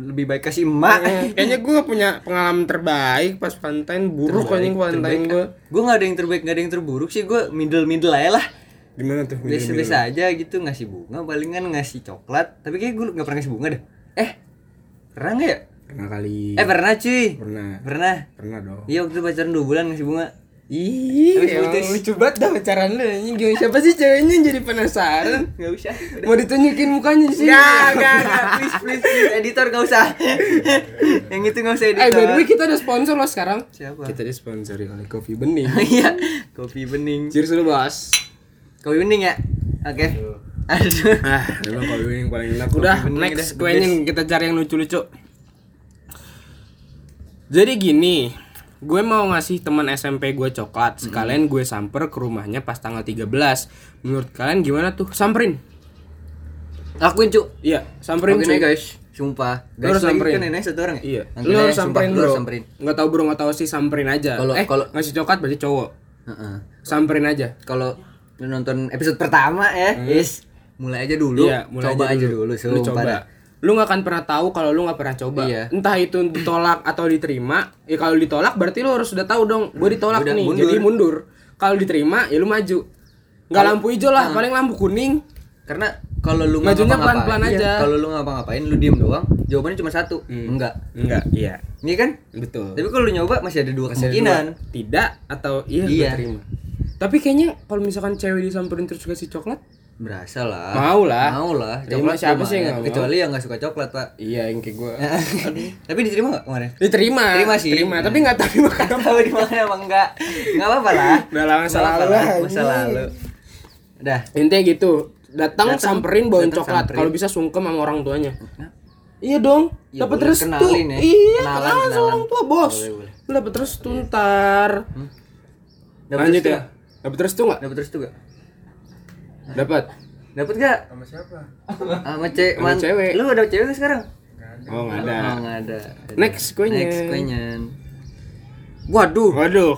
A: Lebih baik kasih emak.
B: Kayaknya gue punya pengalaman terbaik Pas Valentine Buruk anjing Valentine gue
A: Gue nggak ada yang terbaik, nggak ada yang terburuk sih. Gue middle middle aja lah.
B: Gimana tuh?
A: Biasa-biasa aja gitu ngasih bunga, palingan ngasih coklat. Tapi kayak gue nggak pernah ngasih bunga deh. Eh, pernah nggak ya?
B: Pernah kali
A: Eh pernah cuy.
B: Pernah
A: Pernah.
B: Pernah dong
A: Iya waktu pacaran 2 bulan ngasih
B: [laughs]
A: bunga.
B: Ih,
A: Habis
B: emang
A: putus.
B: lucu banget dah pacaran lu anjing. Gimana siapa sih ceweknya jadi penasaran?
A: Nggak usah.
B: Mau ditunjukin mukanya sih.
A: Enggak, enggak, enggak. Ya, Please, please, please. Editor nggak usah. [laughs] yang itu nggak usah editor.
B: Eh, by the way kita ada sponsor loh sekarang.
A: Siapa? [laughs]
B: Kita disponsori oleh Kopi Bening.
A: Iya. Kopi bening.
B: Cheers dulu, Bos.
A: Kopi bening ya. Oke. Aduh.
B: Ah, memang kopi bening paling enak. Udah,
A: bening dah, the
B: next kuenya yang kita cari yang lucu-lucu. Jadi gini, gue mau ngasih teman SMP gue coklat. Sekalian gue samper ke rumahnya pas tanggal 13. Menurut kalian gimana tuh? Samperin.
A: Lakuin cu.
B: Iya, samperin
A: Oke
B: cuy.
A: nih guys. Sumpah.
B: Lu
A: Guys
B: harus
A: lagi
B: samperin.
A: kan nenek satu orang ya.
B: Iya.
A: Angkat
B: Lu
A: aja,
B: harus
A: sumpah,
B: samperin,
A: lu
B: Bro.
A: harus samperin.
B: Enggak tahu Bro, enggak tahu sih samperin aja.
A: Kalau-
B: eh, kalau
A: kalau-
B: ngasih coklat berarti cowok.
A: Heeh.
B: Samperin aja.
A: Kalau lu nonton episode pertama ya, is mulai aja dulu.
B: Hmm. Iya, mulai
A: coba aja dulu,
B: Lu
A: sumpah
B: coba.
A: dah.
B: Lu gak akan pernah tahu kalau lu gak pernah coba.
A: Iya.
B: Entah itu ditolak atau diterima. Ya kalau ditolak berarti lu harus udah tahu dong, gue ditolak
A: Nah, Udah,
B: nih.
A: mundur.
B: Jadi mundur. Kalau diterima ya lu maju. Gak lampu
A: Ah.
B: hijau lah, paling lampu kuning.
A: Karena kalau lu nggak
B: Majunya
A: ngapa-ngapain-
B: pelan-pelan
A: iya,
B: aja. Hmm.
A: Kalau lu ngapa-ngapain, lu diem doang. Jawabannya cuma satu, enggak.
B: Enggak, iya.
A: Iya kan?
B: Betul.
A: Hmm. Tapi kalau lu nyoba masih ada dua
B: Masih ada
A: kemungkinan.
B: dua, tidak atau iya,
A: Iya.
B: gua terima. Tapi kayaknya kalau misalkan cewek disamperin terus kasih coklat,
A: Berasa lah.
B: Mau lah.
A: Mau lah.
B: Terima siapa
A: lumayan.
B: sih yang nggak mau?
A: ya. Kecuali yang nggak suka coklat pak.
B: Iya yang kayak gue
A: [laughs] Tapi diterima nggak
B: [laughs]
A: kemarin?
B: Diterima
A: Terima sih.
B: Terima kan? tapi gak tahu makan
A: Gak tahu di mana emang enggak. Enggak apa-apa lah.
B: Udah lah, masa
A: Nggak apa-apa
B: lalu lah,
A: Masa
B: anjing.
A: lalu. Udah.
B: Intinya gitu Datang samperin bawain
A: datang
B: coklat
A: samperin.
B: Kalau bisa sungkem sama orang tuanya Iya dong
A: Iya,
B: Dapat
A: boleh,
B: restu
A: kenalin ya.
B: Iya
A: Kenalan,
B: kenalan, sama
A: kenalan.
B: orang tua
A: Boleh,
B: bos
A: boleh. Iya. Hmm?
B: Lu dapet restu ntar
A: Dapet
B: Lanjut
A: restu
B: ya
A: nggak?
B: Dapet restu gak?
A: Dapat restu gak?
B: Dapet
A: Dapat gak?
D: sama siapa
A: Sama cewek.
B: Sama cewek.
A: Lu ada cewek nggak sekarang?
B: Oh gak ada
A: Oh, nggak ada.
B: Next kuenya.
A: Next kuenya. Waduh,
B: Waduh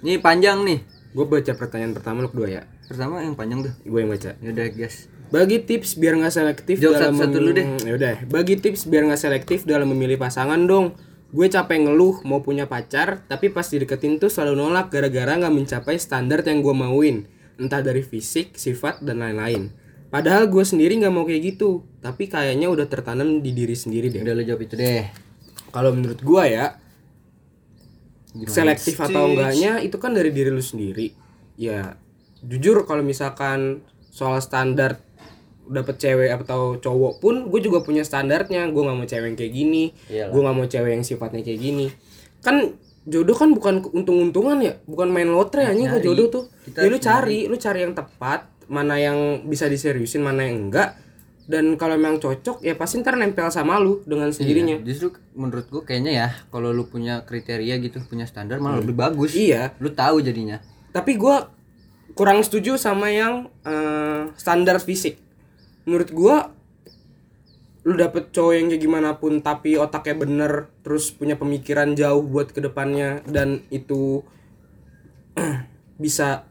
A: ini panjang nih.
B: Gue baca pertanyaan pertama lu kedua ya
A: pertama yang panjang tuh
B: Gue yang baca.
A: yaudah guys
B: Bagi tips biar nggak selektif
A: Jawab
B: dalam
A: satu-satu
B: mem-
A: dulu deh.
B: Yaudah. Bagi tips biar nggak selektif dalam memilih pasangan dong. Gue capek ngeluh mau punya pacar, tapi pas dideketin tuh selalu nolak gara-gara nggak mencapai standar yang gue mauin, entah dari fisik, sifat dan lain-lain. Padahal gue sendiri nggak mau kayak gitu, tapi kayaknya udah tertanam di diri sendiri deh.
A: udah lo jawab itu deh
B: Kalau menurut gue ya, selektif atau enggaknya itu kan dari diri lu sendiri ya jujur kalau misalkan soal standar dapet cewek atau cowok pun gue juga punya standarnya gue nggak mau cewek yang kayak gini gue nggak mau cewek yang sifatnya kayak gini kan jodoh kan bukan untung-untungan ya bukan main lotre anjing kok jodoh tuh
A: Kita
B: ya lu cari lu cari yang tepat mana yang bisa diseriusin mana yang enggak dan kalau memang cocok ya pasti ntar nempel sama lu dengan sendirinya
A: Iya, justru menurut gua kayaknya ya kalau lu punya kriteria gitu punya standar malah lebih bagus
B: iya
A: lu tahu jadinya
B: tapi gue kurang setuju sama yang eh, standar fisik menurut gue lu dapet cowok yang kayak gimana pun tapi otaknya bener terus punya pemikiran jauh buat kedepannya dan itu [clears throat] bisa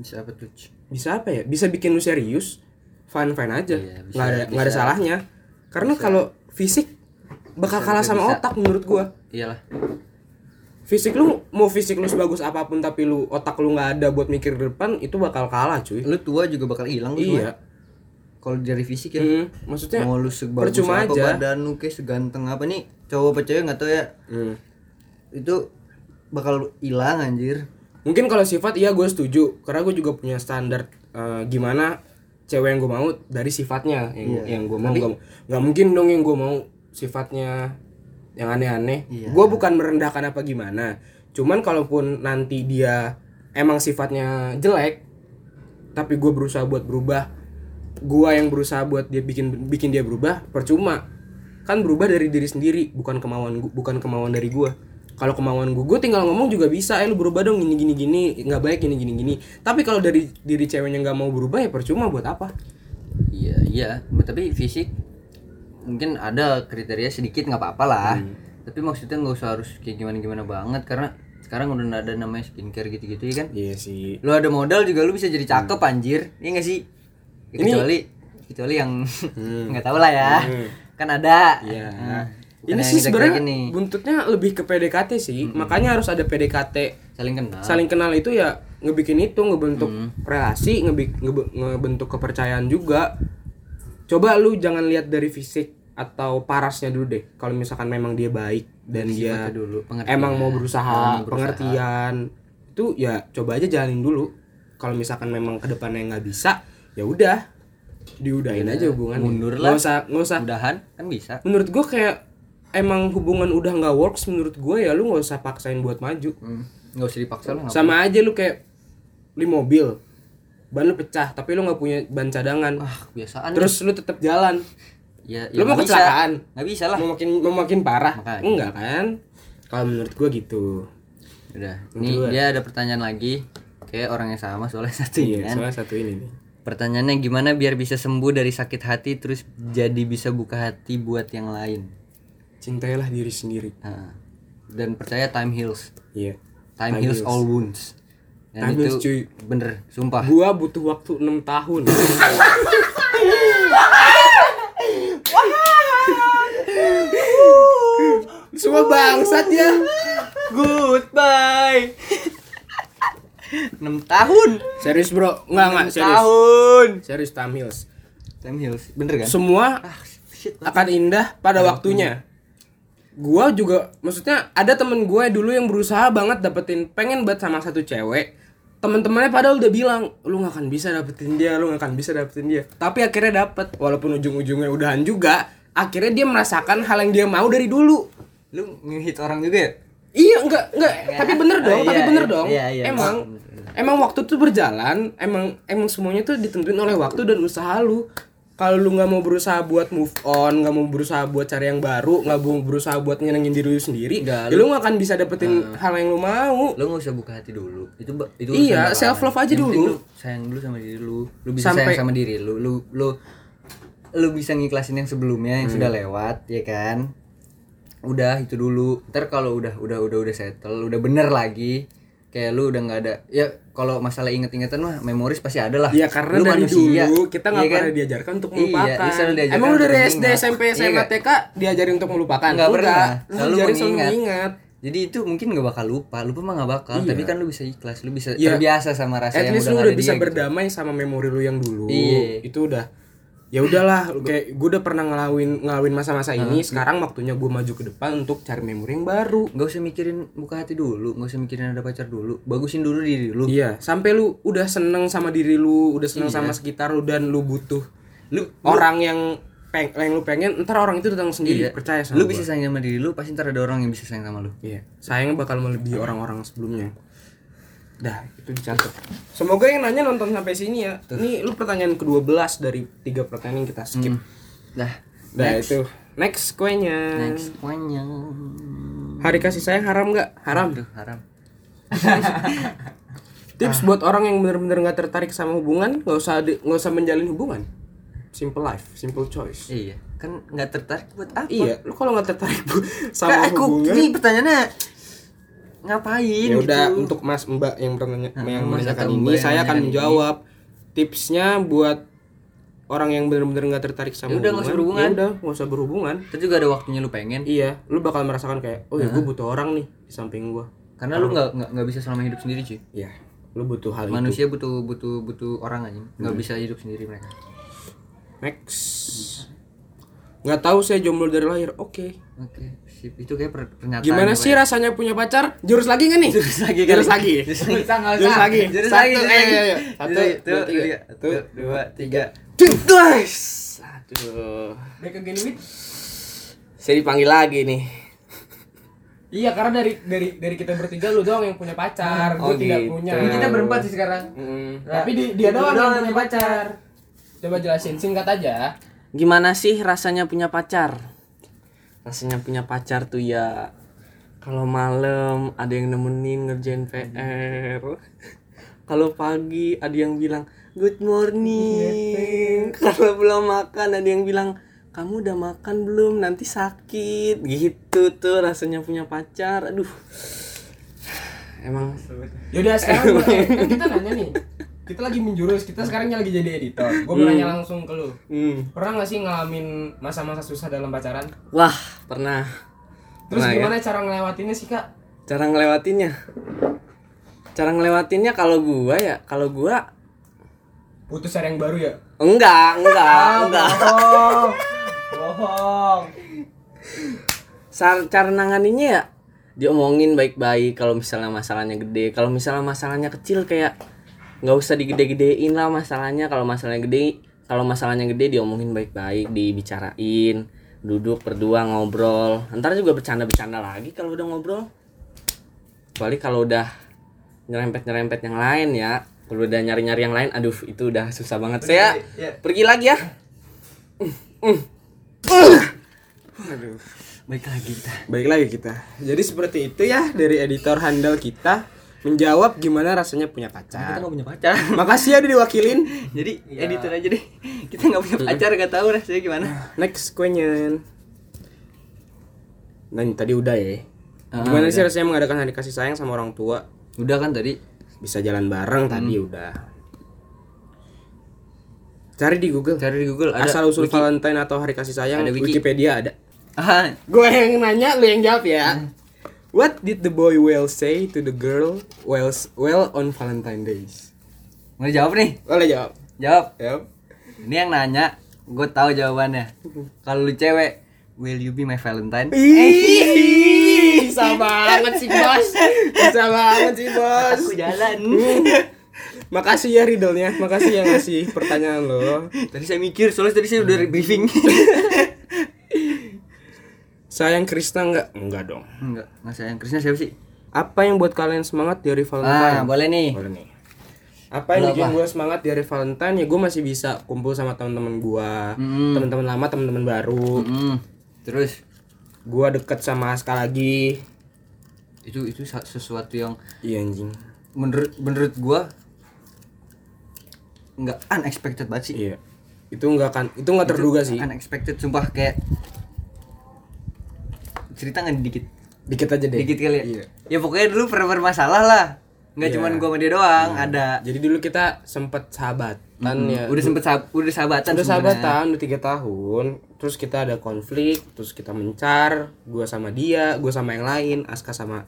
A: bisa apa tuh Ci?
B: bisa apa ya bisa bikin lu serius fine fine aja
A: Iya, bisa-
B: nggak ada nggak ada
A: bisa.
B: salahnya karena kalau fisik bakal
A: Bisa,
B: kalah
A: bisa,
B: sama
A: bisa.
B: otak menurut gua
A: iyalah
B: fisik lu mau fisik lu sebagus apapun tapi lu otak lu nggak ada buat mikir ke depan itu bakal kalah cuy
A: lu tua juga bakal hilang lu
B: Iya.
A: tua. kalau dari fisik ya
B: Hmm, maksudnya
A: mau lu sebagus
B: percuma
A: apa
B: aja.
A: badan lu kayak seganteng apa nih cowok apa cewek nggak tahu ya
B: Hmm.
A: itu bakal hilang anjir
B: mungkin kalau sifat iya gue setuju karena gue juga punya standar eh, gimana cewek yang gue mau dari sifatnya yang
A: Iya.
B: yang gue mau nggak nggak mungkin dong yang gue mau sifatnya yang aneh-aneh gue bukan merendahkan apa gimana cuman kalaupun nanti dia emang sifatnya jelek tapi gue berusaha buat berubah gue yang berusaha buat dia bikin bikin dia berubah percuma kan berubah dari diri sendiri bukan kemauan gu- bukan kemauan dari gue kalau kemauan gue gue tinggal ngomong juga bisa eh lu berubah dong gini gini gini nggak baik gini gini gini tapi kalau dari diri ceweknya nggak mau berubah ya percuma buat apa
A: iya iya tapi fisik mungkin ada kriteria sedikit nggak apa-apa lah tapi maksudnya nggak usah harus kayak gimana gimana banget karena sekarang udah ada namanya skincare gitu-gitu ya kan
B: iya sih
A: lu ada modal juga lu bisa jadi cakep
B: Hmm.
A: anjir iya nggak sih Ya, kecuali kecuali yang [laughs] nggak tahu lah ya kan ada
B: Hmm. Iya.
A: Nah, karena yang kita
B: ini sih
A: Hmm.
B: sebenarnya
A: gerakin nih
B: buntutnya lebih ke PDKT sih makanya harus ada PDKT
A: saling kenal
B: saling kenal itu ya ngebikin itu ngebentuk
A: Hmm.
B: relasi ngebi- ngebe- ngebentuk kepercayaan juga coba lu jangan lihat dari fisik atau parasnya dulu deh kalau misalkan memang dia baik dan dia
A: sifatnya dulu, pengertian.
B: emang mau berusaha,
A: Emang mau berusaha.
B: pengertian itu ya coba aja jalanin dulu kalau misalkan memang kedepannya nggak bisa ya udah diudahin aja hubungan
A: Iya. Mundur
B: nggak
A: lah.
B: usah nggak usah
A: mudahan kan bisa
B: menurut gue kayak emang hubungan udah nggak works menurut gue ya lu nggak usah paksain buat maju
A: Hmm, nggak usah dipaksa lah nggak
B: sama aja lu kayak li mobil ban lu pecah tapi lu nggak punya ban cadangan
A: apa-apa. ah kebiasaan
B: terus lu tetap jalan
A: ya, ya
B: lu mau
A: nggak bisa.
B: kecelakaan
A: nggak bisa lah
B: mau makin mau makin parah
A: Makanya.
B: enggak kan kalau menurut gua gitu
A: udah ini dia ada pertanyaan lagi kayak orang yang sama soalnya [laughs] satu ini
B: iya
A: kan
B: soalnya satu ini nih
A: pertanyaannya gimana biar bisa sembuh dari sakit hati terus jadi bisa buka hati buat yang lain
B: cintailah diri sendiri
A: Nah, dan percaya time heals
B: iya
A: Time, heals, all wounds. Dan
B: Time
A: itu
B: heals, cuy.
A: bener, sumpah.
B: gua butuh waktu 6 tahun semua bangsat ya
A: Goodbye. [laughs] 6 tahun.
B: serius bro nggak nggak serius
A: Tahun.
B: serius Tam Hills
A: Time heals, bener kan?
B: semua
A: Shit.
B: akan indah pada waktunya. Gua juga maksudnya ada temen gue dulu yang berusaha banget dapetin pengen banget sama satu cewek. Temen-temennya padahal udah bilang lu gak akan bisa dapetin dia, lu gak akan bisa dapetin dia. Tapi akhirnya dapet walaupun ujung-ujungnya udahan juga. Akhirnya dia merasakan hal yang dia mau dari dulu.
A: Lu ngehit orang juga ya?
B: Iya, enggak, enggak. Tapi bener dong,
A: Iya,
B: tapi bener
A: iya,
B: dong.
A: iya, iya.
B: emang, emang waktu tuh berjalan, emang, emang semuanya tuh ditentuin oleh waktu dan usaha lu. Kalau lu nggak mau berusaha buat move on, nggak mau berusaha buat cari yang baru, nggak mau berusaha buat nyenengin diri lu sendiri,
A: Nggak, Ah.
B: ya lu nggak akan bisa dapetin hal yang lu mau.
A: Lu gak usah buka hati dulu. Itu ba- itu urusan
B: Iya, self love
A: belakangan.
B: aja
A: Yang penting
B: dulu.
A: Lu sayang dulu sama diri lu. Lu bisa
B: Sampai-
A: sayang sama diri lu. Lu lu lu bisa ngiklasin yang sebelumnya
B: Hmm.
A: yang sudah lewat, ya kan? Udah itu dulu. Ntar kalau udah udah udah udah settle, udah bener lagi, kayak lu udah nggak ada ya kalau masalah inget-ingetan mah memoris pasti ada lah
B: Iya karena
A: Lu
B: dari
A: manusia,
B: dulu kita nggak
A: iya kan?
B: pernah diajarkan untuk
A: Iya,
B: melupakan.
A: lu selalu diajarkan
B: Emang lu
A: untuk
B: dari SD,
A: mengingat.
B: SMP,
A: Iya
B: SMA,
A: nggak?
B: TK diajarin untuk melupakan?
A: Nggak pernah.
B: Lu
A: Selalu
B: diajarin selalu
A: mengingat.
B: mengingat.
A: jadi itu mungkin nggak bakal lupa lupa mah nggak bakal tapi kan lu bisa ikhlas lu bisa
B: Iya.
A: terbiasa sama rasa
B: At
A: yang
B: least
A: udah
B: lu
A: nggak
B: udah
A: ada
B: bisa
A: dia, gitu.
B: berdamai sama memori lu yang dulu.
A: Iya.
B: Itu udah ya udahlah lu kayak gue udah pernah ngelawin ngelawin masa-masa ini
A: Ah.
B: sekarang waktunya gue maju ke depan untuk cari memori yang baru
A: nggak usah mikirin buka hati dulu nggak usah mikirin ada pacar dulu bagusin dulu diri lu
B: iya sampai lu udah seneng sama diri lu udah seneng sama sekitar lu dan Iya. lu butuh
A: lu
B: orang yang peng yang lu pengen ntar orang itu datang
A: iya.
B: sendiri percaya sama
A: lu
B: gua.
A: bisa sayang sama diri lu pasti ntar ada orang yang bisa sayang sama lu
B: Iya, sayangnya bakal melebihi orang-orang sebelumnya. Dah, itu dicatat. Semoga yang nanya nonton sampai sini ya. Ini lu pertanyaan ke-12 dari tiga pertanyaan yang kita skip.
A: dah
B: Hmm. Dah itu. Next kuenya.
A: next semuanya
B: Hari kasih sayang haram nggak? Haram.
A: aduh haram
B: Tips buat orang yang benar-benar nggak tertarik sama hubungan, nggak usah di- nggak usah menjalin hubungan. Simple life, simple choice.
A: iya kan nggak tertarik buat apa
B: Iya, lu kalau nggak tertarik [laughs] bu-
A: Kak,
B: sama
A: aku
B: hubungan,
A: ini pertanyaannya ngapain
B: ya udah
A: gitu
B: untuk mas mbak yang bertanya yang
A: mas
B: menanyakan
A: atau Nah,
B: ini
A: mbak yang
B: saya akan
A: menanyakan
B: menjawab tipsnya buat orang yang benar-benar nggak tertarik
A: Ya
B: sama
A: udah, nggak usah berhubungan.
B: Ya udah nggak usah berhubungan
A: Terus juga ada waktunya lu pengen
B: iya lu bakal merasakan kayak oh ya gue butuh orang nih di samping gue
A: karena lu nggak nggak- nggak bisa selama hidup sendiri cuy
B: ya lu butuh hal itu
A: Iya. manusia butuh butuh butuh orang aja nggak bisa hidup sendiri mereka
B: next nggak tahu saya jomblo dari lahir oke
A: oke sip. itu kayak per- pernyataan
B: gimana
A: gua
B: sih
A: ya.
B: rasanya punya pacar jurus lagi nggak nih jurus lagi jurus lagi jurus
D: usah, nggak usah.
B: lagi
A: Nah, Jurus
B: Satu,
A: lagi, jurus
B: eh,
A: lagi.
B: iya, iya. satu
A: Jurus-
B: dua
A: tuh,
B: tiga
A: tiga.
B: Tuh.
A: Tuh, dua tiga
C: Guys. Aduh.
D: Back again with.
C: Saya dipanggil lagi nih.
D: Iya karena dari dari dari kita bertiga lu doang yang punya pacar,
C: Oh,
D: gue tidak
C: gitu.
D: punya.
A: tapi kita berempat sih sekarang Nah,
C: Mm.
D: Tapi di- dia doang yang punya pacar. Coba jelasin singkat aja.
C: Gimana sih rasanya punya pacar? Rasanya punya pacar tuh ya kalau malam ada yang nemenin ngerjain PR. [laughs] Kalau pagi ada yang bilang good morning. Kalau belum makan ada yang bilang kamu udah makan belum? Nanti sakit. Gitu tuh rasanya punya pacar. Aduh. [sighs] Emang
D: Yaudah sekarang
A: [laughs]
D: gua- kan kita nanya nih. Kita lagi menjurus, kita sekarang lagi jadi editor. Gue mau nanya langsung ke lu.
C: hmm.
D: Pernah gak sih ngalamin masa-masa susah dalam pacaran?
C: Wah, pernah.
D: Terus
C: Pernah, ya.
D: gimana cara ngelewatinnya sih kak?
C: Cara ngelewatinnya. Cara ngelewatinnya kalau gua ya, kalau gua
D: Putus hari yang baru ya?
C: enggak, enggak,
D: Ah,
C: enggak.
A: Oh.
D: Bohong! Bohong!
C: Sar- Cara nanganinnya ya diomongin baik-baik kalau misalnya masalahnya gede, kalau misalnya masalahnya kecil kayak nggak usah digede-gedein lah masalahnya kalau masalahnya gede kalau masalahnya gede diomongin baik-baik dibicarain duduk berdua ngobrol ntar juga bercanda-bercanda lagi kalau udah ngobrol kecuali kalau udah nyerempet nyerempet yang lain ya kalau udah nyari nyari yang lain aduh itu udah susah banget saya pergi lagi ya
A: baik lagi kita
B: Baik lagi kita. Jadi seperti itu ya dari editor handal kita menjawab gimana rasanya punya
A: kita
B: pacar.
A: nggak punya pacar
B: [laughs] Makasih ya udah diwakilin.
A: [laughs] jadi editor aja deh [laughs] kita nggak punya pacar nggak tahu rasanya gimana
B: Next question. Nah, ini tadi udah ya.
A: Ah,
B: Gimana sih rasanya mengadakan hari kasih sayang sama orang tua?
A: udah kan tadi
B: Bisa jalan bareng
A: Hmm.
B: tadi udah. Cari di Google.
A: cari di Google ada
B: Asal usul Valentine atau hari kasih sayang
A: Ada wiki.
B: Wikipedia ada.
A: ah
B: Gue yang nanya, lu yang jawab ya.
A: Hmm.
B: What did the boy whale say to the girl while well on Valentine Days?
A: mau jawab nih
B: Boleh jawab.
A: jawab
B: Jawab.
A: ini yang nanya gue tahu jawabannya kalau lu cewek will you be my valentine
B: Ih, bisa banget sih bos. Bisa banget sih bos.
A: aku jalan
B: [laughs] Makasih ya riddle-nya. Makasih ya ngasih pertanyaan lo.
A: tadi saya mikir soalnya tadi saya udah briefing
B: Sayang Krishna nggak? Enggak dong.
A: enggak nggak sayang Krisna siapa sih
B: Apa yang buat kalian semangat di hari
A: ah
B: Valentine?
A: boleh nih
B: Boleh nih. Apa yang bikin gue semangat di hari Valentine ya gue masih bisa kumpul sama teman-teman gue, teman-teman lama, teman-teman baru.
A: Hmm, terus
B: Gua deket sama Aska lagi.
A: itu itu sa- sesuatu yang
B: Iya anjing.
A: menurut menurut gua nggak unexpected banget sih
B: Iya. Itu nggak kan, itu nggak terduga sih.
A: unexpected sumpah kayak cerita nggak dikit
B: Dikit aja deh.
A: dikit kali ya
B: Iya. Iya.
A: ya pokoknya dulu pernah bermasalah lah nggak cuman gua sama dia doang ada
B: Jadi dulu kita sempet sahabatan Iya.
A: Ah.
B: ya.
A: Hmm. udah sempet sahab- udah sahabatan
B: Udah
A: sebenarnya.
B: sahabatan udah tiga tahun, terus kita ada konflik, terus kita mencar, gua sama dia, gua sama yang lain, Aska sama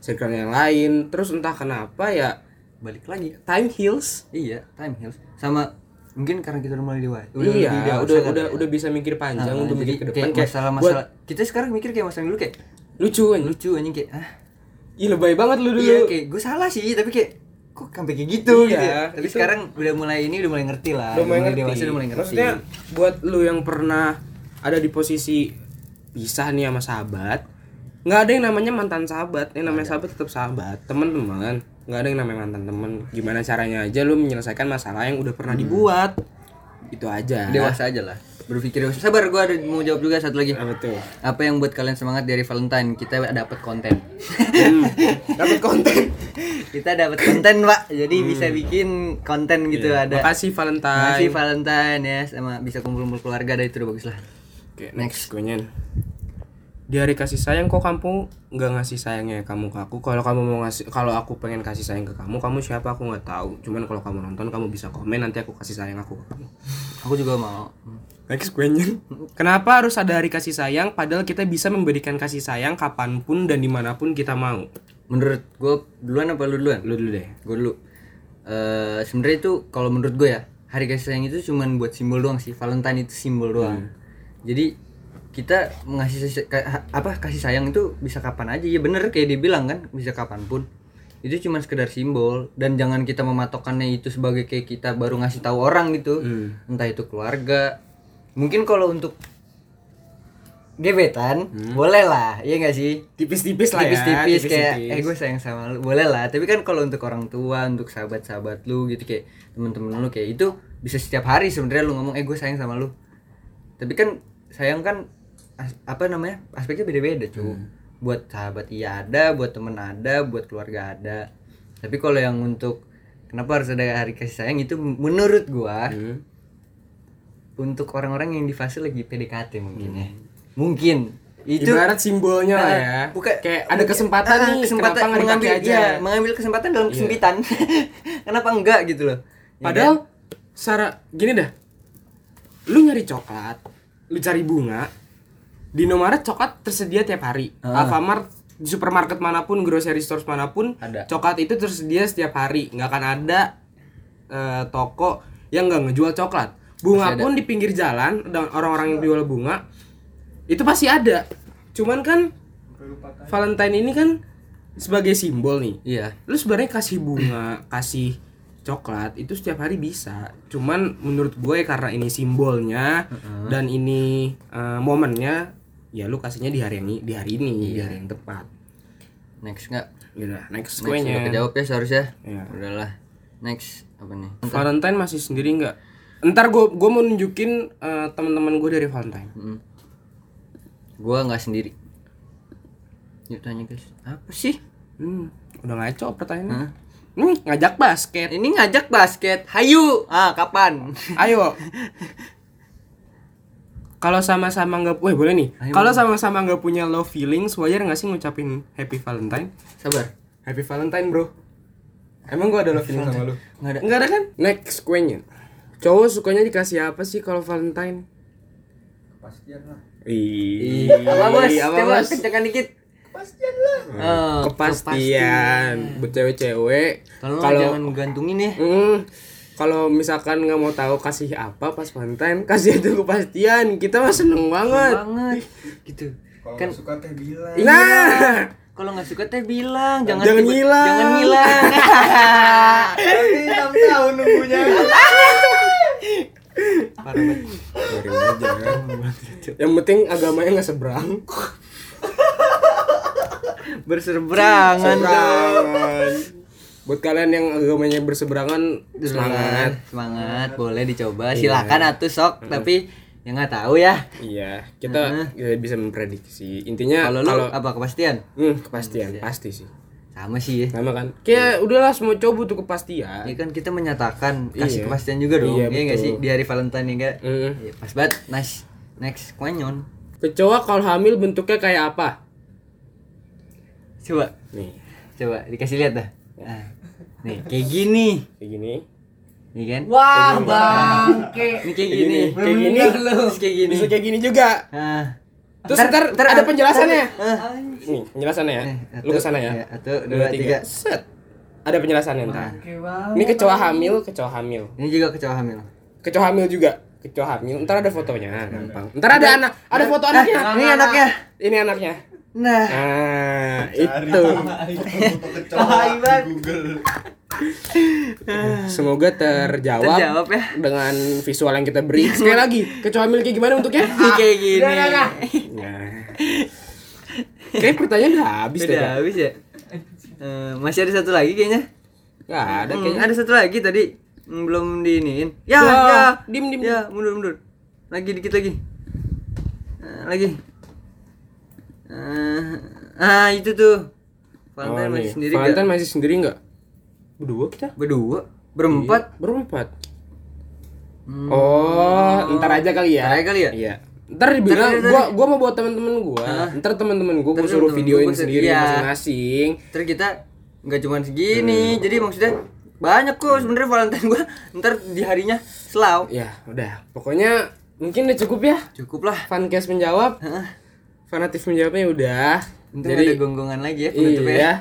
B: circle yang lain, terus entah kenapa ya
A: balik lagi
B: time heals.
A: iya time heals sama mungkin karena kita udah mulai dewa udah
B: iya,
A: lebih dewasa
B: udah
A: kan
B: udah
A: ya.
B: udah bisa mikir panjang,
A: Ah,
B: udah
A: jadi
B: mikir ke depan
A: kayak
B: kayak
A: masalah
B: buat-
A: masalah kita sekarang mikir kayak masalah yang dulu kayak
B: lucu kan?
A: lucu anjing kayak ah
B: Ih, lebay banget lu dulu.
A: iya kayak gue salah sih tapi kayak kok sampai kayak gitu
B: Iya,
A: gitu ya. tapi
B: itu-
A: sekarang udah mulai ini udah mulai ngerti lah
B: udah mulai ngerti.
A: dewasa udah mulai ngerti
B: Maksudnya buat lu yang pernah ada di posisi pisah nih sama sahabat, nggak ada yang namanya mantan sahabat. Yang namanya sahabat tetap sahabat, teman-teman. Nggak ada yang namanya mantan teman. Gimana caranya aja lu menyelesaikan masalah yang udah pernah dibuat. Itu aja.
A: dewasa aja lah berpikir dewasa sabar gue ada mau jawab juga satu lagi
B: Apa tuh?
A: apa yang buat kalian semangat dari Valentine kita dapat konten
B: Dapat Hmm. konten.
A: kita dapat konten pak jadi bisa bikin konten gitu ada
B: Iya. Makasih Valentine.
A: Makasih Valentine ya sama bisa kumpul-kumpul keluarga ada itu udah bagus lah
B: Oke, next gonyen. Di hari kasih sayang kok kamu nggak ngasih sayangnya ya kamu ke aku. Kalau kamu mau ngasih kalau aku pengen kasih sayang ke kamu, kamu siapa aku nggak tahu. Cuman kalau kamu nonton kamu bisa komen nanti aku kasih sayang aku ke kamu.
A: aku juga mau Hmm.
B: Next gonyen. Kenapa harus ada hari kasih sayang padahal kita bisa memberikan kasih sayang kapanpun dan dimanapun kita mau?
A: menurut gue duluan apa lu duluan
B: Lu dulu deh.
A: gue dulu eh sebenarnya itu kalau menurut gue ya hari kasih sayang itu cuman buat simbol doang sih Valentine itu simbol
B: Hmm.
A: doang jadi kita mengasih sesi- ka- ha- apa kasih sayang itu bisa kapan aja ya bener kayak dibilang kan bisa kapanpun itu cuman sekedar simbol dan jangan kita mematokkannya itu sebagai kayak kita baru ngasih tahu orang gitu
B: Hmm.
A: entah itu keluarga mungkin kalau untuk gebetan
B: Hmm.
A: boleh lah iya gak sih
B: Tipis-tipis lah ya,
A: tipis-tipis kayak
B: tipis-tipis.
A: eh gue sayang sama lu boleh lah tapi kan kalau untuk orang tua untuk sahabat-sahabat lu gitu kayak temen-temen lu kayak itu bisa setiap hari sebenarnya lu ngomong eh gue sayang sama lu tapi kan sayang kan as- apa namanya aspeknya beda-beda cuy
B: Hmm.
A: buat sahabat iya ada buat temen ada buat keluarga ada tapi kalau yang untuk kenapa harus ada hari kasih sayang itu menurut gua
B: Hmm.
A: untuk orang-orang yang di fase lagi PDKT mungkin ya mungkin itu
B: Hmm. Ibarat simbolnya lah ya.
A: Ah, bukan-
B: kayak ada
A: mungkin-
B: kesempatan
A: ah,
B: nih,
A: kesempatan
B: kenapa nggak
A: mengambil
B: dipakai aja?
A: iya, mengambil kesempatan dalam kesempitan [laughs] kenapa enggak gitu loh Ya
B: Padahal
A: kan?
B: Sarah gini dah. Lu nyari coklat, lu cari bunga. Di Indomaret coklat tersedia tiap hari.
A: Ah.
B: Alfamart di supermarket manapun, grocery stores manapun,
A: Ada.
B: coklat itu tersedia setiap hari. Nggak akan ada eh, toko yang nggak ngejual coklat. Bunga pun di pinggir jalan dan orang-orang yang jual bunga itu pasti ada. Cuman kan Valentine ini kan sebagai simbol nih
A: iya
B: lu sebenarnya kasih bunga kasih coklat itu setiap hari bisa cuman menurut gue karena ini simbolnya dan ini eh, momennya ya lu kasihnya di hari ini di hari ini di hari yang tepat
A: next enggak
B: udah next
A: next udah
B: kuenya
A: kejawab ya seharusnya
B: Iya.
A: udahlah next apa nih
B: Valentine masih sendiri nggak ntar gue gue mau nunjukin eh, teman-teman gue dari Valentine
A: gua nggak sendiri yuk tanya guys apa sih
B: hmm, udah ngaco pertanyaannya hmm, ngajak basket
A: ini ngajak basket hayu ah kapan
B: Ayo. Kalau sama-sama nggak, weh boleh nih. Kalau sama-sama nggak punya love feelings, wajar nggak sih ngucapin Happy Valentine?
A: sabar
B: Happy Valentine bro. Emang gua ada love feeling sama lu?
A: nggak ada
B: Nggak ada kan? Next kuenya. Cowok sukanya dikasih apa sih kalau Valentine? Kepastian lah. Ih,
A: apa Iya, bos
B: apa,
A: coba
B: Bos?
A: kencengkan dikit Oh, kepastian lah
B: Kepastian. Buat cewek-cewek.
A: kalau
B: Kalau
A: jangan gantungin ya
B: Hmm, kalau misalkan nggak mau tahu kasih apa pas Valentine, [laughs] kasih itu kepastian. Kita mah seneng banget.
A: banget gitu kan
D: suka teh
E: [laughs]
D: bilang
B: Nah,
A: kalau nggak suka teh bilang jangan
B: Jangan
A: tiba-
B: ngilang.
A: jangan ngilang
D: tapi enam tahun nunggunya
B: yang penting agamanya nggak seberang.
A: berseberangan
B: Seberangan. Buat kalian yang agamanya berseberangan, semangat.
A: semangat boleh dicoba silakan atuh sok tapi yang nggak tahu ya
B: Iya, kita ya, bisa memprediksi. Intinya
A: kalau lu
B: kalau
A: apa kepastian
B: Hmm, kepastian pasti sih.
A: sama sih ya
B: Sama kan? Kayak udahlah semua cowok butuh kepastian.
A: Iya kan kita menyatakan kasih
B: Iya.
A: kepastian juga dong,
B: Iya,
A: iya nggak
B: betul.
A: sih di hari Valentine ya nggak?
B: Hmm.
A: Iya, pas banget, nice, next, kuanyon,
B: Kecoa kalau hamil bentuknya kayak apa?
A: coba,
B: Nih.
A: coba dikasih lihat dah. Nah, nih kayak gini,
B: kayak gini
A: nih kan?
C: Wah, bangke.
A: Ini kayak gini,
B: kayak gini
A: Bener Terus kayak gini.
B: bisa kayak gini juga
A: Nah,
B: terus ntar, ada penjelasannya
A: eh,
B: nih penjelasannya ya
A: eh, satu,
B: lu kesana ya
A: iya, Satu, dua, tiga.
B: set ada penjelasannya ntar
C: Bangke banget.
B: ini kecoa hamil kecoa hamil
A: Ini juga kecoa hamil.
B: kecoa hamil juga kecoa hamil ntar ada fotonya gampang ntar ada anak ada
A: Nah,
B: foto anaknya
A: ini anaknya.
B: ini anaknya
A: Nah,
B: nah
E: Itu.
B: itu
E: Kecoa di Google.
B: semoga terjawab,
A: terjawab ya.
B: dengan visual yang kita beri sekali lagi kecoa hamil kayak gimana bentuknya
A: Ini kayak gini.
B: nah. kayak pertanyaan udah habis
A: Udah
B: deh Kak.
A: habis ya. Eh, masih ada satu lagi kayaknya.
B: nggak ada
A: Hmm,
B: kayaknya
A: ada satu lagi tadi hmm, belum diiniin. Ya,
B: Ya,
A: ya.
B: dim, dim.
A: Ya, mundur, mundur. Lagi dikit lagi. Eh, lagi. Eh, ah, itu tuh. Valentine
B: Oh,
A: masih
B: nih.
A: sendiri
B: Valentine
A: nggak?
B: masih sendiri nggak berdua kita
A: Berdua, berempat.
B: berempat oh ntar aja kali ya
A: Hmm. Ntar aja kali ya?
B: iya ntar
A: Ntar,
B: dibilang
A: ntar,
B: gua gua mau buat temen-temen gua ntar temen-temen gua gua
A: Ntar
B: suruh
A: temen-temen
B: videoin
A: gua-
B: sendiri
A: iya.
B: masing-masing
A: Terus kita nggak cuma segini.
B: Hmm.
A: Jadi maksudnya banyak kok sebenarnya Valentine gua [laughs] ntar di harinya selau.
B: ya udah pokoknya mungkin udah cukup ya
A: Cukup lah.
B: fancast menjawab
A: Heeh.
B: fanatif menjawabnya udah
A: Untung
B: jadi
A: ada gonggongan lagi ya penutupnya.
B: Iya.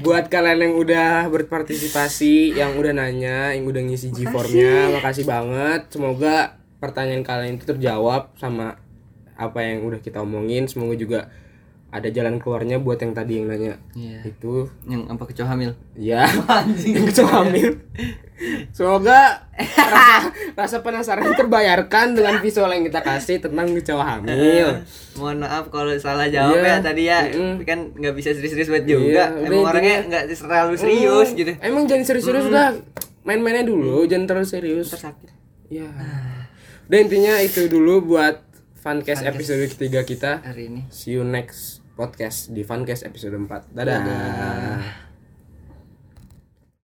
B: Buat kalian yang udah berpartisipasi, yang udah nanya, yang udah ngisi G-formnya, makasih banget. Semoga pertanyaan kalian itu terjawab sama apa yang udah kita omongin. Semoga juga ada jalan keluarnya buat yang tadi yang nanya.
A: Iya.
B: Itu
A: Yang apa kecoa hamil?
B: [laughs] ya. yang kecoa hamil. Semoga rasa, rasa penasaran terbayarkan dengan visual yang kita kasih tentang kecoa hamil.
A: Mohon maaf kalau salah jawab ya
B: Iya.
A: tadi ya.
B: Mm-mm.
A: Kan nggak bisa serius-serius banget
B: Iya,
A: juga.
B: udah
A: Emang orangnya
B: intinya-
A: nggak terlalu serius
B: Mm,
A: gitu.
B: Emang jangan serius-serius lah. Main-mainnya dulu, jangan terlalu serius.
A: Sakit. Ah.
B: Ya. Udah intinya itu dulu buat Funcast episode ketiga kita.
A: Hari ini.
B: See you next podcast di Funcast episode 4. Dadah.